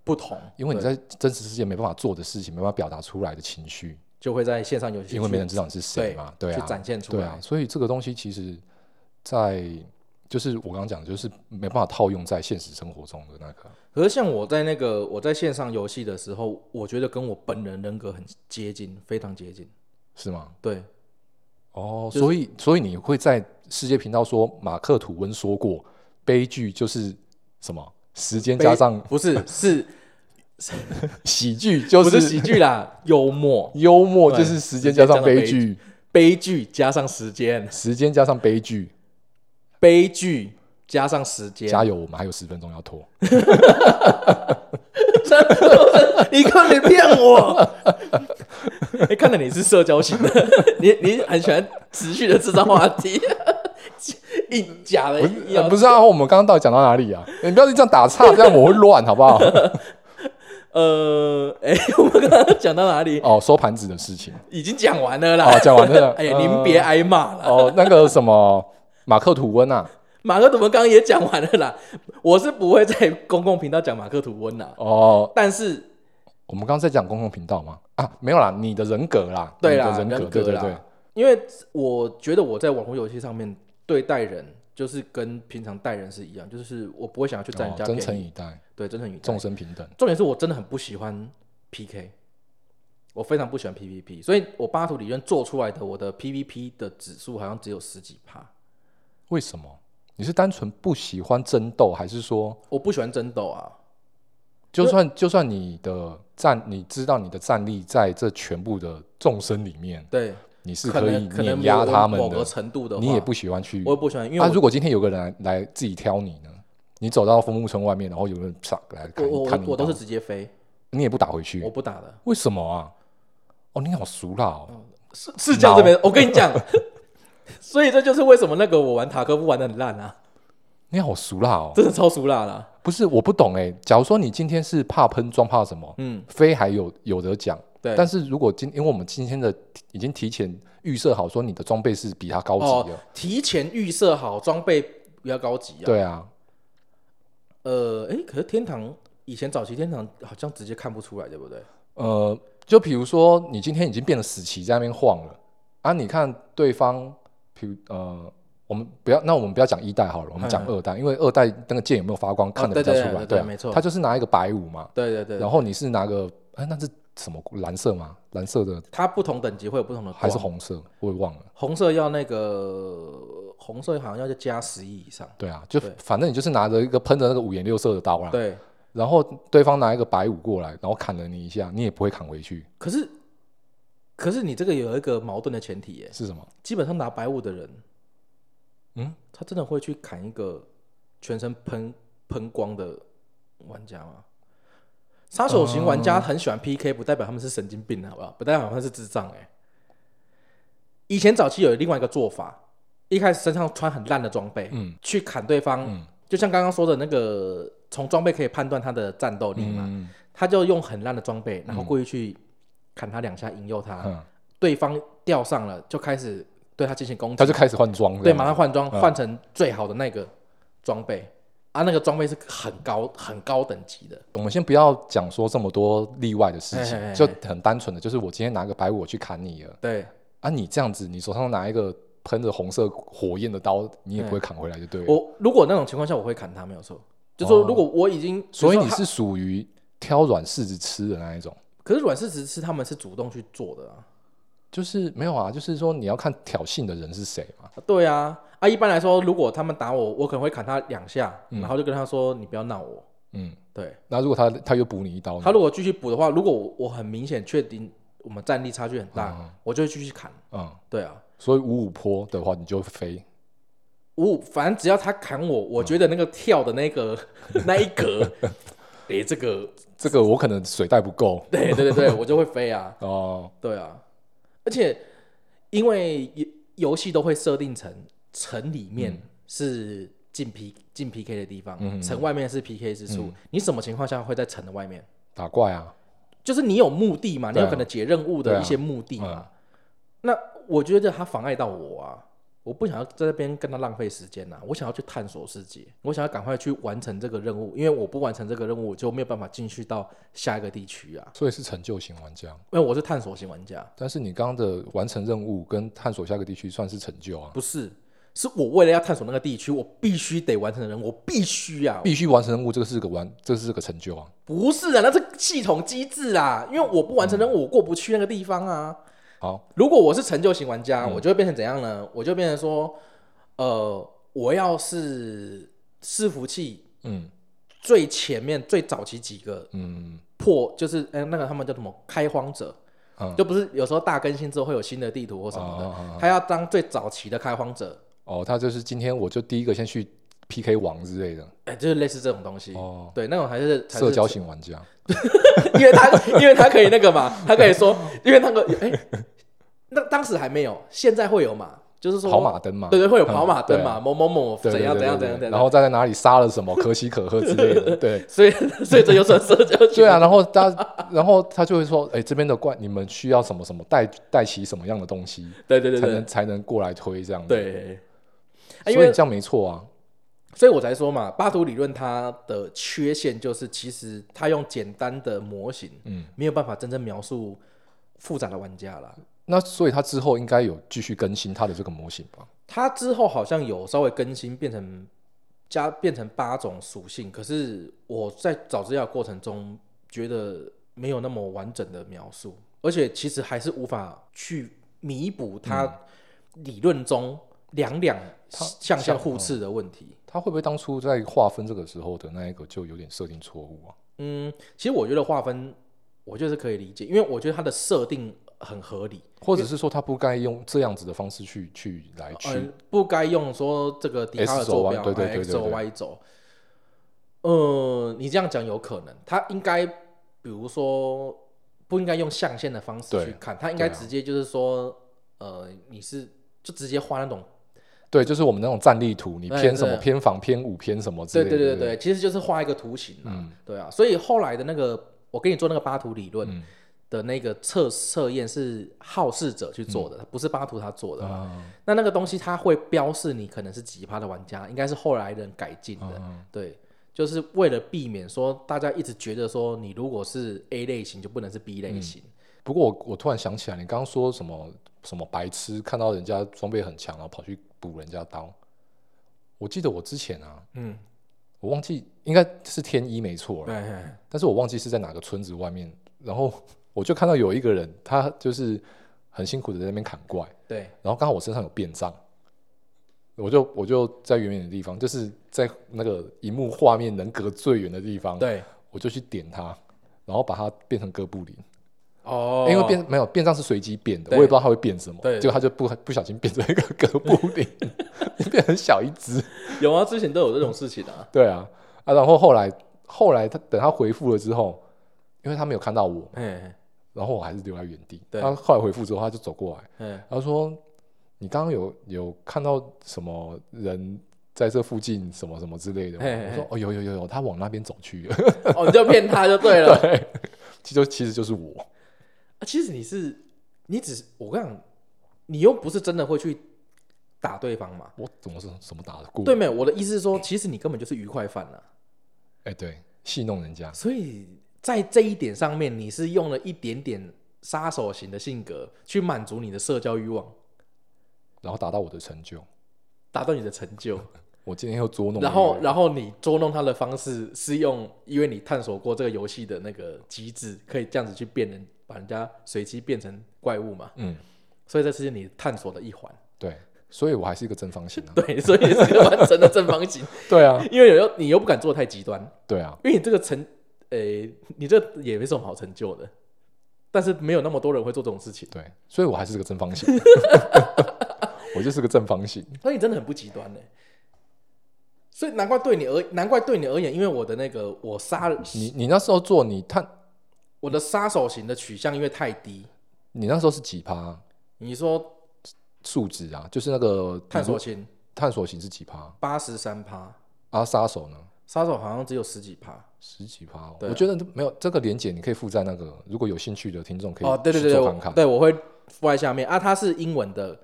[SPEAKER 1] 不同，
[SPEAKER 2] 因为你
[SPEAKER 1] 对
[SPEAKER 2] 在真实世界没办法做的事情，没办法表达出来的情绪，
[SPEAKER 1] 就会在线上游戏
[SPEAKER 2] 因为
[SPEAKER 1] 去
[SPEAKER 2] 没人知道你是谁嘛，对
[SPEAKER 1] 去
[SPEAKER 2] 啊，
[SPEAKER 1] 展现出
[SPEAKER 2] 对
[SPEAKER 1] 来。
[SPEAKER 2] 啊，所以这个东西其实在，就是我刚刚讲，的，就是没办法套用在现实生活中的那个。
[SPEAKER 1] 可是像我在那个我在线上游戏的时候，我觉得跟我本人人格很接近，非常接近。
[SPEAKER 2] 是吗？
[SPEAKER 1] 对，
[SPEAKER 2] 哦，所以所以你会在世界频道说马克吐温说过，悲剧就是什么？时间加上
[SPEAKER 1] 不是是
[SPEAKER 2] 喜剧就
[SPEAKER 1] 不
[SPEAKER 2] 是
[SPEAKER 1] 是喜剧啦，幽默、
[SPEAKER 2] 幽默，
[SPEAKER 1] 对
[SPEAKER 2] 就是时间加上悲
[SPEAKER 1] 时间
[SPEAKER 2] 剧，
[SPEAKER 1] 悲剧加上时间，
[SPEAKER 2] 时间加上悲剧。
[SPEAKER 1] 悲剧加上时间，
[SPEAKER 2] 加油，我们还有十分钟要拖。
[SPEAKER 1] 你看你骗我！ 哎、看来你是社交型的， 你你很喜欢持续的制造话题， 硬假的
[SPEAKER 2] 不
[SPEAKER 1] 硬
[SPEAKER 2] 是
[SPEAKER 1] 要
[SPEAKER 2] 呃不知道我们刚刚到底讲到哪里啊？你不要这样打岔， 这样我会乱，好 不好？
[SPEAKER 1] 呃，哎、我们刚刚讲到哪里？
[SPEAKER 2] 哦，收盘子的事 情。
[SPEAKER 1] 已经讲完了啦
[SPEAKER 2] 哦，。讲完了。
[SPEAKER 1] 哎呀，您别挨骂了。
[SPEAKER 2] 哦，那个什么马克吐温啊，
[SPEAKER 1] 马克吐温刚刚也讲完了啦，我是不会在公共频道讲马克吐温啦，
[SPEAKER 2] 哦，
[SPEAKER 1] 但是
[SPEAKER 2] 我们刚刚在讲公共频道吗？啊，没有啦，你的人格啦，
[SPEAKER 1] 对
[SPEAKER 2] 你
[SPEAKER 1] 啦，
[SPEAKER 2] 的嗯人格，
[SPEAKER 1] 人
[SPEAKER 2] 对对
[SPEAKER 1] 啦
[SPEAKER 2] 对，
[SPEAKER 1] 因为我觉得我在网络游戏上面对待人，就是跟平常待人是一样，就是我不会想要去占
[SPEAKER 2] 哦
[SPEAKER 1] 人家
[SPEAKER 2] 真
[SPEAKER 1] 便
[SPEAKER 2] 诚
[SPEAKER 1] 宜，
[SPEAKER 2] 以待，
[SPEAKER 1] 对，真诚与
[SPEAKER 2] 众生平等。
[SPEAKER 1] 重点是我真的很不喜欢 PK，我非常不喜欢 PVP，所以我巴图理论做出来的我的 PVP 的指数好像只有十几趴，
[SPEAKER 2] 为什么？你是单纯不喜欢争斗，还是说，
[SPEAKER 1] 我不喜欢争斗啊，
[SPEAKER 2] 就算就算你的战，你知道你的战力在这全部的众生里面，
[SPEAKER 1] 对，
[SPEAKER 2] 你是
[SPEAKER 1] 可
[SPEAKER 2] 可以
[SPEAKER 1] 能可能
[SPEAKER 2] 碾压
[SPEAKER 1] 某个
[SPEAKER 2] 他们
[SPEAKER 1] 某个
[SPEAKER 2] 的，
[SPEAKER 1] 程度的话，
[SPEAKER 2] 你也不喜欢去
[SPEAKER 1] 我也不喜欢，因为
[SPEAKER 2] 啊，
[SPEAKER 1] 我
[SPEAKER 2] 如果今天有个人来来自己挑你呢？你走到枫木村外面，然后有个人啪来砍
[SPEAKER 1] 我我我
[SPEAKER 2] 砍你一
[SPEAKER 1] 我都
[SPEAKER 2] 刀
[SPEAKER 1] 是直接飞，
[SPEAKER 2] 你也不打回去
[SPEAKER 1] 我，不打的。
[SPEAKER 2] 为什么啊？哦，你好俗辣哦！
[SPEAKER 1] 是是这样子没？我跟你 讲，所以这就是为什么那个我玩塔科夫玩的很烂啊，
[SPEAKER 2] 你好俗辣哦！
[SPEAKER 1] 真的超俗辣啦。
[SPEAKER 2] 不是，我不懂哎。假如说你今天是怕喷装怕什么，
[SPEAKER 1] 嗯，
[SPEAKER 2] 非还有有得讲，
[SPEAKER 1] 对。
[SPEAKER 2] 但是如果今因为我们今天的已经提前预设好说你的装备是比他高级
[SPEAKER 1] 哦
[SPEAKER 2] 的，，
[SPEAKER 1] 提前预设好装备比较高级啊。
[SPEAKER 2] 对啊，
[SPEAKER 1] 呃，哎，可是天堂以前早期天堂好像直接看不出来，对不对？
[SPEAKER 2] 呃，就比如说你今天已经变得死棋在那边晃了啊，你看对方，比如呃，我们不要，那我们不要讲一代好了，我们讲二代，因为二代那个剑有没有发光看得比
[SPEAKER 1] 嗯
[SPEAKER 2] 较
[SPEAKER 1] 哦对
[SPEAKER 2] 出
[SPEAKER 1] 对对
[SPEAKER 2] 来，对啊，
[SPEAKER 1] 没错
[SPEAKER 2] 他就是拿一个白五嘛，
[SPEAKER 1] 对对对，
[SPEAKER 2] 然后你是拿个哎，那是什么蓝色吗？蓝色的
[SPEAKER 1] 它不同等级会有不同的光，
[SPEAKER 2] 还是红色？我也忘了。
[SPEAKER 1] 红色要那个红色好像要加十亿以上。
[SPEAKER 2] 对啊，就
[SPEAKER 1] 对
[SPEAKER 2] 反正你就是拿着一个喷着那个五颜六色的刀啦，
[SPEAKER 1] 对，
[SPEAKER 2] 然后对方拿一个白五过来，然后砍了你一下，你也不会砍回去，
[SPEAKER 1] 可是可是你这个有一个矛盾的前提耶，
[SPEAKER 2] 是什么？
[SPEAKER 1] 基本上拿白雾的人，
[SPEAKER 2] 嗯，
[SPEAKER 1] 他真的会去砍一个全身喷喷光的玩家吗？杀手型玩家很喜欢 PK，、不代表他们是神经病，好不好？不代表他们是智障、哎，以前早期有另外一个做法，一开始身上穿很烂的装备，
[SPEAKER 2] 嗯，
[SPEAKER 1] 去砍对方，
[SPEAKER 2] 嗯
[SPEAKER 1] 就像刚刚说的那个，从装备可以判断他的战斗力嘛，
[SPEAKER 2] 嗯
[SPEAKER 1] 他就用很烂的装备，然后故意去砍他两下，引诱他，
[SPEAKER 2] 嗯，
[SPEAKER 1] 对方钓上了，就开始对他进行攻击，
[SPEAKER 2] 他就开始换装这样子，
[SPEAKER 1] 对，马上换装，
[SPEAKER 2] 嗯
[SPEAKER 1] 换成最好的那个装备啊，那个装备是很高很高等级的，
[SPEAKER 2] 我们先不要讲说这么多例外的事
[SPEAKER 1] 哎哎哎
[SPEAKER 2] 情，就很单纯的，就是我今天拿个白五我去砍你了
[SPEAKER 1] 对
[SPEAKER 2] 啊，你这样子，你手上拿一个喷着红色火焰的刀，你也不会砍回来，就对了。
[SPEAKER 1] 我如果那种情况下我会砍他没有错，就说
[SPEAKER 2] 哦
[SPEAKER 1] 如果我已经，
[SPEAKER 2] 所以
[SPEAKER 1] 比
[SPEAKER 2] 你
[SPEAKER 1] 如说他，
[SPEAKER 2] 是属于挑软柿子吃的那一种，
[SPEAKER 1] 可是软柿子是他们是主动去做的啊，
[SPEAKER 2] 就是没有啊，就是说你要看挑衅的人是谁嘛。
[SPEAKER 1] 对啊，啊一般来
[SPEAKER 2] 嗯
[SPEAKER 1] 说如果他们打我，我可能会砍他两下，然后就跟他说你不要闹我，
[SPEAKER 2] 嗯，
[SPEAKER 1] 对
[SPEAKER 2] 那如果他他又补你一刀呢，
[SPEAKER 1] 他如果继续补的话，如果我我很明显确定我们战力差距很大，我就会继续砍，
[SPEAKER 2] 嗯，
[SPEAKER 1] 对啊。
[SPEAKER 2] 所以五五坡的话你就飞，
[SPEAKER 1] 我反正只要他砍我，我觉得那个跳的那个、那一格，诶、这个，
[SPEAKER 2] 这个我可能水袋不够
[SPEAKER 1] 对对对对，我就会飞啊，
[SPEAKER 2] 哦，
[SPEAKER 1] 对啊，而且因为游游戏都会设定成城里面是进 P 进 PK 的地方，城外面是 PK 之处，你什么情况下会在城的外面？
[SPEAKER 2] 打怪啊，
[SPEAKER 1] 就是你有目的嘛，你
[SPEAKER 2] 对啊
[SPEAKER 1] 有可能解任务
[SPEAKER 2] 对
[SPEAKER 1] 的
[SPEAKER 2] 啊
[SPEAKER 1] 一些目的嘛。
[SPEAKER 2] 嗯
[SPEAKER 1] 那我觉得他妨碍到我啊，我不想要在这边跟他浪费时间呐、啊我想要去探索世界，我想要赶快去完成这个任务，因为我不完成这个任务，我就没有办法进去到下一个地区啊。
[SPEAKER 2] 所以是成就型玩家。
[SPEAKER 1] 因为我是探索型玩家，
[SPEAKER 2] 但是你刚刚的完成任务跟探索下个地区算是成就啊，
[SPEAKER 1] 不是，是我为了要探索那个地区，我必须得完成的任务，我必须啊，
[SPEAKER 2] 必须完成任务，这个是个完，这是个成就啊。
[SPEAKER 1] 不是啊，那是系统机制啊，因为我不完成任务，我过不去那个地方啊。
[SPEAKER 2] 好，
[SPEAKER 1] 如果我是成就型玩
[SPEAKER 2] 嗯
[SPEAKER 1] 家，我就会变成怎样呢？我就变成说，呃，我要是伺服器
[SPEAKER 2] 嗯
[SPEAKER 1] 最前面最早期几个
[SPEAKER 2] 嗯
[SPEAKER 1] 破，就是哎、那个他们叫什么开荒者，
[SPEAKER 2] 嗯
[SPEAKER 1] 就不是有时候大更新之后会有新的地图或什么的，
[SPEAKER 2] 哦哦
[SPEAKER 1] 他要当最早期的开荒者，
[SPEAKER 2] 哦，他就是今天我就第一个先去 PK 王之类的
[SPEAKER 1] 哎、就是类似这种东西。
[SPEAKER 2] 哦，
[SPEAKER 1] 对，那种还是才是
[SPEAKER 2] 社交型玩家。
[SPEAKER 1] 因为他因为他可以那个嘛，他可以说，因为那个哎、那当时还没有，现在会有嘛，就是说
[SPEAKER 2] 跑马灯嘛
[SPEAKER 1] 对对，会有跑马灯嘛，
[SPEAKER 2] 嗯
[SPEAKER 1] 某某某
[SPEAKER 2] 对
[SPEAKER 1] 怎样
[SPEAKER 2] 对对
[SPEAKER 1] 怎样
[SPEAKER 2] 对
[SPEAKER 1] 怎
[SPEAKER 2] 对
[SPEAKER 1] 样怎样，
[SPEAKER 2] 然后再在哪里杀了 什么，可喜可贺之类的，对。
[SPEAKER 1] 所以 所以这就算社交圈
[SPEAKER 2] 对啊，然后他，然后他就会说，哎、这边的怪，你们需要什么什么，带带起什么样的东西，
[SPEAKER 1] 对对对
[SPEAKER 2] 才
[SPEAKER 1] 对
[SPEAKER 2] 能才能过来推这样子。，
[SPEAKER 1] 对，啊因
[SPEAKER 2] 所以
[SPEAKER 1] 为
[SPEAKER 2] 这样没错啊。
[SPEAKER 1] 所以我才说嘛，巴图理论它的缺陷就是，其实它用简单的模型，
[SPEAKER 2] 嗯，
[SPEAKER 1] 没有办法真正描述复杂的玩家啦。
[SPEAKER 2] 那所以他之后应该有继续更新他的这个模型吧？
[SPEAKER 1] 它之后好像有稍微更新，变成加变成八种属性，可是我在找资料的过程中觉得没有那么完整的描述，而且其实还是无法去弥补它理论中两两相相互斥的问题。
[SPEAKER 2] 他会不会当初在划分这个时候的那一个就有点设定错误啊？
[SPEAKER 1] 嗯，其实我觉得划分，我就是可以理解，因为我觉得它的设定很合理，
[SPEAKER 2] 或者是说他不该用这样子的方式去去来去、
[SPEAKER 1] 嗯，不该用说这个迪卡尔
[SPEAKER 2] S 轴
[SPEAKER 1] 坐
[SPEAKER 2] 啊
[SPEAKER 1] 标
[SPEAKER 2] 对对
[SPEAKER 1] 哎
[SPEAKER 2] 对对
[SPEAKER 1] x 轴
[SPEAKER 2] 对
[SPEAKER 1] y 轴。呃，你这样讲有可能，它应该比如说不应该用象限的方式
[SPEAKER 2] 对
[SPEAKER 1] 去看，它应该
[SPEAKER 2] 对啊
[SPEAKER 1] 直接就是说，呃，你是就直接画那种，
[SPEAKER 2] 对，就是我们那种战力图，你
[SPEAKER 1] 哎
[SPEAKER 2] 偏什
[SPEAKER 1] 对
[SPEAKER 2] 么
[SPEAKER 1] 啊
[SPEAKER 2] 偏防偏武偏什么之
[SPEAKER 1] 对
[SPEAKER 2] 类的。
[SPEAKER 1] 对对
[SPEAKER 2] 不
[SPEAKER 1] 对，其实就是画一个图形啊，
[SPEAKER 2] 嗯
[SPEAKER 1] 对啊，所以后来的那个我跟你做那个八图理
[SPEAKER 2] 嗯
[SPEAKER 1] 论。的那个测测验是好事者去做
[SPEAKER 2] 嗯
[SPEAKER 1] 的，不是巴图他做的。
[SPEAKER 2] 啊，
[SPEAKER 1] 那那个东西它会标示你可能是几趴的玩家，应该是后来人改进的，对，就是为了避免说大家一直觉得说你如果是 A 类型就不能是 B 类型，
[SPEAKER 2] 不过我我突然想起来，你刚刚说什么什么白痴，看到人家装备很强，然后跑去补人家刀。我记得我之前啊，
[SPEAKER 1] 嗯，
[SPEAKER 2] 我忘记应该是天一没错了，
[SPEAKER 1] 哎哎
[SPEAKER 2] 但是我忘记是在哪个村子外面，然后 我就看到有一个人，他就是很辛苦的在那边砍怪，
[SPEAKER 1] 对，
[SPEAKER 2] 然后刚好我身上有变脏，我就我就在远远的地方，就是在那个荧幕画面能隔最远的地方，
[SPEAKER 1] 对，
[SPEAKER 2] 我就去点它，然后把它变成哥布林。
[SPEAKER 1] 哦，
[SPEAKER 2] 因为变没有变账是随机变的，
[SPEAKER 1] 对
[SPEAKER 2] 我也不知道它会变什么，
[SPEAKER 1] 对
[SPEAKER 2] 结果它就不不小心变成一个哥布林， 变很小一只，
[SPEAKER 1] 有啊，之前都有这种事情啊，
[SPEAKER 2] 对啊啊，然后后来后来他等他回复了之后，因为他没有看到我，
[SPEAKER 1] 哎
[SPEAKER 2] 然后我还是留在原地，
[SPEAKER 1] 对
[SPEAKER 2] 他后来回复之后他就走过来，
[SPEAKER 1] 哎，
[SPEAKER 2] 他说你刚刚有有看到什么人？在这附近什么什么之类的吗，
[SPEAKER 1] 嘿嘿嘿
[SPEAKER 2] 我说哦有有有有，他往那边走去 了，
[SPEAKER 1] 哦，你就骗他就对了。
[SPEAKER 2] 对，其实其实就是我，
[SPEAKER 1] 啊其实你是，你只是我跟你讲，你又不是真的会去打对方嘛，
[SPEAKER 2] 我怎么是怎么打得过？
[SPEAKER 1] 对，没有？我的意思是说，其实你根本就是愉快犯啊了、
[SPEAKER 2] 哎对，戏弄人家，
[SPEAKER 1] 所以在这一点上面，你是用了一点点杀手型的性格去满足你的社交欲望，
[SPEAKER 2] 然后达到我的成就。
[SPEAKER 1] 达到你的成就。
[SPEAKER 2] 我今天又捉弄了一个人，
[SPEAKER 1] 然后，然后你捉弄他的方式是用，因为你探索过这个游戏的那个机制，可以这样子去变人，把人家随机变成怪物嘛。
[SPEAKER 2] 嗯，
[SPEAKER 1] 所以这是你探索的一环，。
[SPEAKER 2] 对，所以我还是一个正方形啊
[SPEAKER 1] 对，所以是个完整的正方形。
[SPEAKER 2] 对啊，
[SPEAKER 1] 因为有你又不敢做太极端，
[SPEAKER 2] 对啊，
[SPEAKER 1] 因为你这个成，诶，你这个也没什么好成就的，但是没有那么多人会做这种事情，
[SPEAKER 2] 对，所以我还是个正 方形。我就是个正方形，
[SPEAKER 1] 所以你真的很不极端呢。所以难怪对你而难怪对你而言，因为我的那个我杀
[SPEAKER 2] 你你那时候做你探，
[SPEAKER 1] 我的杀手型的取向因为太低，
[SPEAKER 2] 你那时候是几趴啊
[SPEAKER 1] 你说
[SPEAKER 2] 数值啊？就是那个
[SPEAKER 1] 探索型
[SPEAKER 2] 探索型是几趴
[SPEAKER 1] 八十三趴，
[SPEAKER 2] 啊？杀手呢？
[SPEAKER 1] 杀手好像只有十几趴。
[SPEAKER 2] 十几趴哦、
[SPEAKER 1] 对啊
[SPEAKER 2] 我觉得没有这个连结，你可以附在那个，如果有兴趣的听众可以
[SPEAKER 1] 哦，对对
[SPEAKER 2] 去
[SPEAKER 1] 对，
[SPEAKER 2] 做
[SPEAKER 1] 我
[SPEAKER 2] 看看。
[SPEAKER 1] 对我会附在下面啊，它是英文的，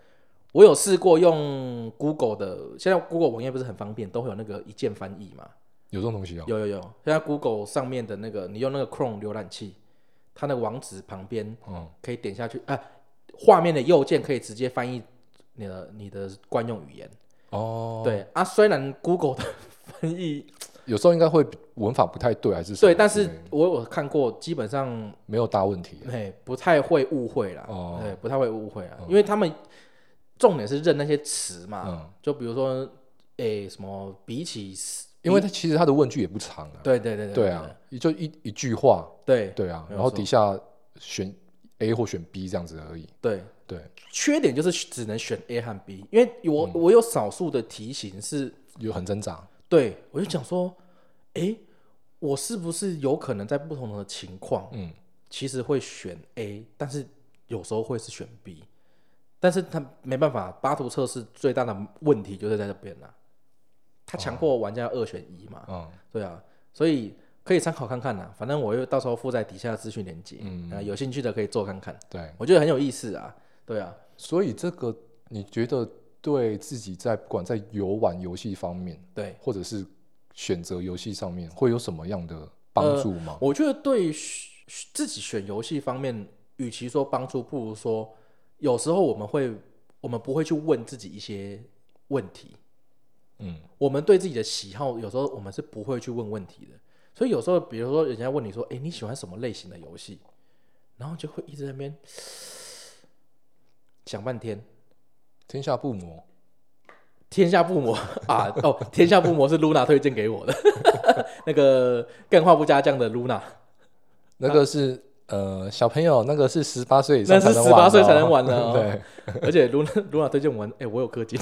[SPEAKER 1] 我有试过用 Google 的，现在 Google 网页不是很方便，都会有那个一键翻译嘛。
[SPEAKER 2] 有这种东西哦。
[SPEAKER 1] 有有有，现在 Google 上面的那个，你用那个 Chrome 浏览器，它那个网址旁边
[SPEAKER 2] 嗯，
[SPEAKER 1] 可以点下去，啊，画面的右键可以直接翻译你的你的惯用语言。
[SPEAKER 2] 哦，
[SPEAKER 1] 对啊，虽然 Google 的 翻译
[SPEAKER 2] 有时候应该会文法不太对，还是什么
[SPEAKER 1] 对，但是
[SPEAKER 2] 之类的
[SPEAKER 1] 我有看过，基本上
[SPEAKER 2] 没有大问题。
[SPEAKER 1] 嘿不太会误会啦，
[SPEAKER 2] 哦
[SPEAKER 1] 对，不太会误会啊，因为他们重点是认那些词嘛，
[SPEAKER 2] 嗯，
[SPEAKER 1] 就比如说诶、什么比起死，
[SPEAKER 2] 因为它其实它的问句也不长啊。
[SPEAKER 1] 对对对对
[SPEAKER 2] 对啊，就一一句话，
[SPEAKER 1] 对
[SPEAKER 2] 对啊，
[SPEAKER 1] 没有
[SPEAKER 2] 然后
[SPEAKER 1] 错
[SPEAKER 2] 底下选 A 或选 B 这样子而已。
[SPEAKER 1] 对，
[SPEAKER 2] 对，
[SPEAKER 1] 缺点就是只能选 A 和 B，因为我、
[SPEAKER 2] 嗯
[SPEAKER 1] 我有少数的题型是，
[SPEAKER 2] 有很挣扎。
[SPEAKER 1] 对我就想说，诶、我是不是有可能在不同的情况，
[SPEAKER 2] 嗯，
[SPEAKER 1] 其实会选 A，但是有时候会是选 B，但是他没办法，八图测试最大的问题就是在这边啦、他
[SPEAKER 2] 哦
[SPEAKER 1] 强迫玩家二选一嘛，
[SPEAKER 2] 嗯，
[SPEAKER 1] 对啊，所以可以参考看看啦、反正我又到时候附在底下的资讯连接，
[SPEAKER 2] 嗯
[SPEAKER 1] 呃有兴趣的可以做看看，
[SPEAKER 2] 对。
[SPEAKER 1] 我觉得很有意思啊，对啊，
[SPEAKER 2] 所以这个你觉得对自己在不管在游玩游戏方面，
[SPEAKER 1] 对，
[SPEAKER 2] 或者是选择游戏上面，会有什么样的帮助吗？
[SPEAKER 1] 我觉得对于选自己选游戏方面，与其说帮助，不如说有时候我们会，我们不会去问自己一些问题，
[SPEAKER 2] 嗯，
[SPEAKER 1] 我们对自己的喜好，有时候我们是不会去问问题的。所以有时候，比如说人家问你说：“哎、你喜欢什么类型的游戏？”然后就会一直在那边想半天。
[SPEAKER 2] 天下不磨，
[SPEAKER 1] 天下不磨啊，哦，天下不磨是 Luna 推荐给我的， 那个干话不加酱的 Luna，
[SPEAKER 2] 那个是、呃小朋友，那个是十八岁以上
[SPEAKER 1] 那
[SPEAKER 2] 才
[SPEAKER 1] 是
[SPEAKER 2] 能
[SPEAKER 1] 十
[SPEAKER 2] 玩、哦
[SPEAKER 1] 八岁才能。玩的、哦。
[SPEAKER 2] 对，
[SPEAKER 1] 而且卢卢娜推荐我玩，哎、我有氪金，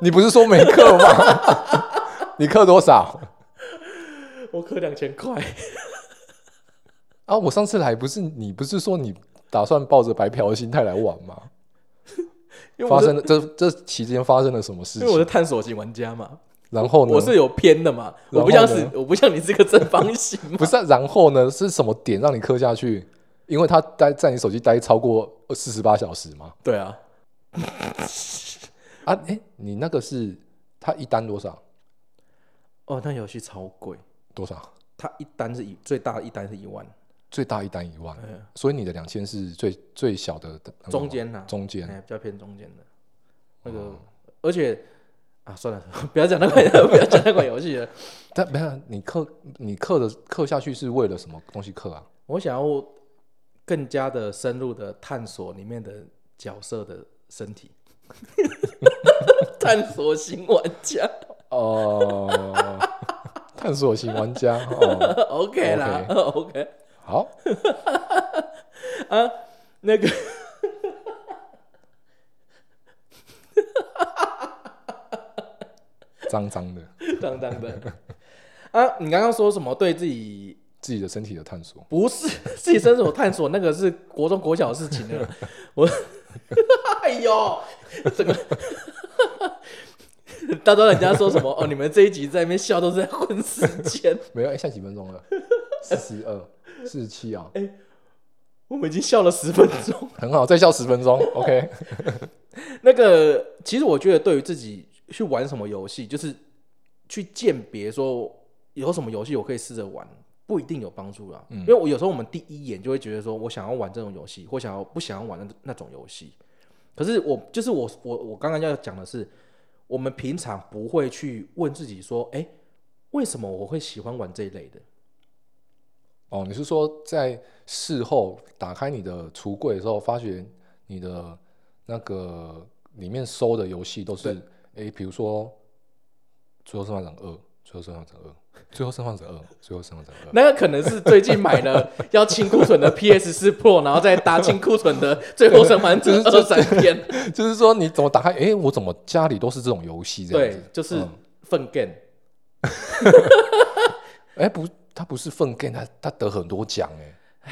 [SPEAKER 2] 你不是说没课吗？ 你课多少
[SPEAKER 1] 我氪两千 块。
[SPEAKER 2] 啊？我上次来不是你不是说你打算抱着白嫖的心态来玩吗？
[SPEAKER 1] 因为我
[SPEAKER 2] 发
[SPEAKER 1] 是
[SPEAKER 2] 生了这这期间发生了什么事
[SPEAKER 1] 因为我
[SPEAKER 2] 情？
[SPEAKER 1] 是探索型玩家嘛，
[SPEAKER 2] 然后呢？
[SPEAKER 1] 我是有偏的嘛，我不
[SPEAKER 2] 然
[SPEAKER 1] 像
[SPEAKER 2] 后
[SPEAKER 1] 是
[SPEAKER 2] 呢
[SPEAKER 1] 我不像你是个正方形 嘛，
[SPEAKER 2] 不是啊、然后呢？是什么点让你磕下去？因为他待在你手机待超过四十八小时吗？
[SPEAKER 1] 对啊，
[SPEAKER 2] 啊，哎、你那个是他一单多少？
[SPEAKER 1] 哦，那游戏超贵，
[SPEAKER 2] 多少？
[SPEAKER 1] 它一单是一最大的一单是一万，
[SPEAKER 2] 最大一单一万，
[SPEAKER 1] 嗯
[SPEAKER 2] 所以你的两千是最最小的那个
[SPEAKER 1] 中间呐、
[SPEAKER 2] 中间哦
[SPEAKER 1] 哎、比较偏中间的，那个、而且啊，算了， 不要讲那款，不要讲那款游戏了。
[SPEAKER 2] 但没有啊你刻你刻的刻下去是为了什么东西刻啊？
[SPEAKER 1] 我想要更加的深入的探索里面的角色的身 体，探索型玩家
[SPEAKER 2] 哦、探索型玩家哦，
[SPEAKER 1] ，OK 啦
[SPEAKER 2] OK
[SPEAKER 1] ，OK
[SPEAKER 2] 好，
[SPEAKER 1] 啊，那个
[SPEAKER 2] 脏脏的，
[SPEAKER 1] 当当的啊，你刚刚说什么？对自己
[SPEAKER 2] 自己的身体的探索，
[SPEAKER 1] 不是 自己伸手探索，那个是国中国小的事情了。我， 哎呦，整个 到时候人家说什么哦，你们这一集在那边笑都是在混时间。
[SPEAKER 2] 没有，哎、现在几分钟了？四十二，四十七啊，
[SPEAKER 1] 我们已经笑了十分钟。
[SPEAKER 2] 很好，再笑十分钟，OK。
[SPEAKER 1] 那个，其实我觉得对于自己去玩什么游戏，就是去鉴别说有什么游戏我可以试着玩，不一定有帮助啦。因为我有时候我们第一眼就会觉得说我想要玩这种游戏，或想要不想要玩那那种游戏。可是我就是我我我刚刚要讲的是，我们平常不会去问自己说，哎、为什么我会喜欢玩这一类的？
[SPEAKER 2] 哦，你是说在事后打开你的橱柜的时候，发觉你的那个里面收的游戏都是，诶，比如说《最后生还者二》《最后生还者二》《最后生还者二》《最后生还者 二》，
[SPEAKER 1] 那个可能是最近买了 要清库存的 PS 四 Pro，然后再搭清库存的《最后生还者二三篇》。
[SPEAKER 2] 就是说你怎么打开，诶，我怎么家里都是这种游戏这样
[SPEAKER 1] 对
[SPEAKER 2] 子？，嗯
[SPEAKER 1] 就是粪 game。
[SPEAKER 2] 诶，不，它不是粪 game，它它得很多奖诶。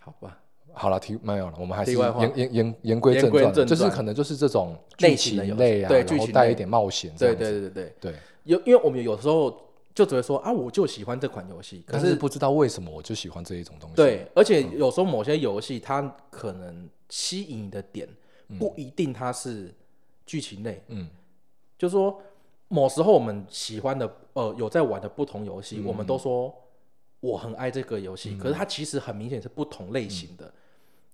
[SPEAKER 1] 好吧，
[SPEAKER 2] 好了，题没有了，我们还是
[SPEAKER 1] 题外话
[SPEAKER 2] 言言言言归
[SPEAKER 1] 言
[SPEAKER 2] 正
[SPEAKER 1] 归
[SPEAKER 2] 传，
[SPEAKER 1] 正
[SPEAKER 2] 就是
[SPEAKER 1] 传
[SPEAKER 2] 可能就是这种
[SPEAKER 1] 类
[SPEAKER 2] 剧
[SPEAKER 1] 型
[SPEAKER 2] 情
[SPEAKER 1] 的游戏
[SPEAKER 2] 类啊，
[SPEAKER 1] 对
[SPEAKER 2] 然
[SPEAKER 1] 剧
[SPEAKER 2] 后
[SPEAKER 1] 情
[SPEAKER 2] 带
[SPEAKER 1] 类
[SPEAKER 2] 一点冒险这
[SPEAKER 1] 对
[SPEAKER 2] 样
[SPEAKER 1] 对对
[SPEAKER 2] 子，
[SPEAKER 1] 对对，
[SPEAKER 2] 对。
[SPEAKER 1] 有因为我们有时候就只会说啊，我就喜欢这款游戏，可
[SPEAKER 2] 但是不知道为什么我就喜欢这一种东西。，
[SPEAKER 1] 对，而且
[SPEAKER 2] 嗯
[SPEAKER 1] 有时候某些游戏它可能吸引你的点不一定它是剧情类，
[SPEAKER 2] 嗯，
[SPEAKER 1] 就说某时候我们喜欢的呃有在玩的不同游戏，
[SPEAKER 2] 嗯
[SPEAKER 1] 我们都说我很爱这个游戏，可是它其实很明显是不同类型的，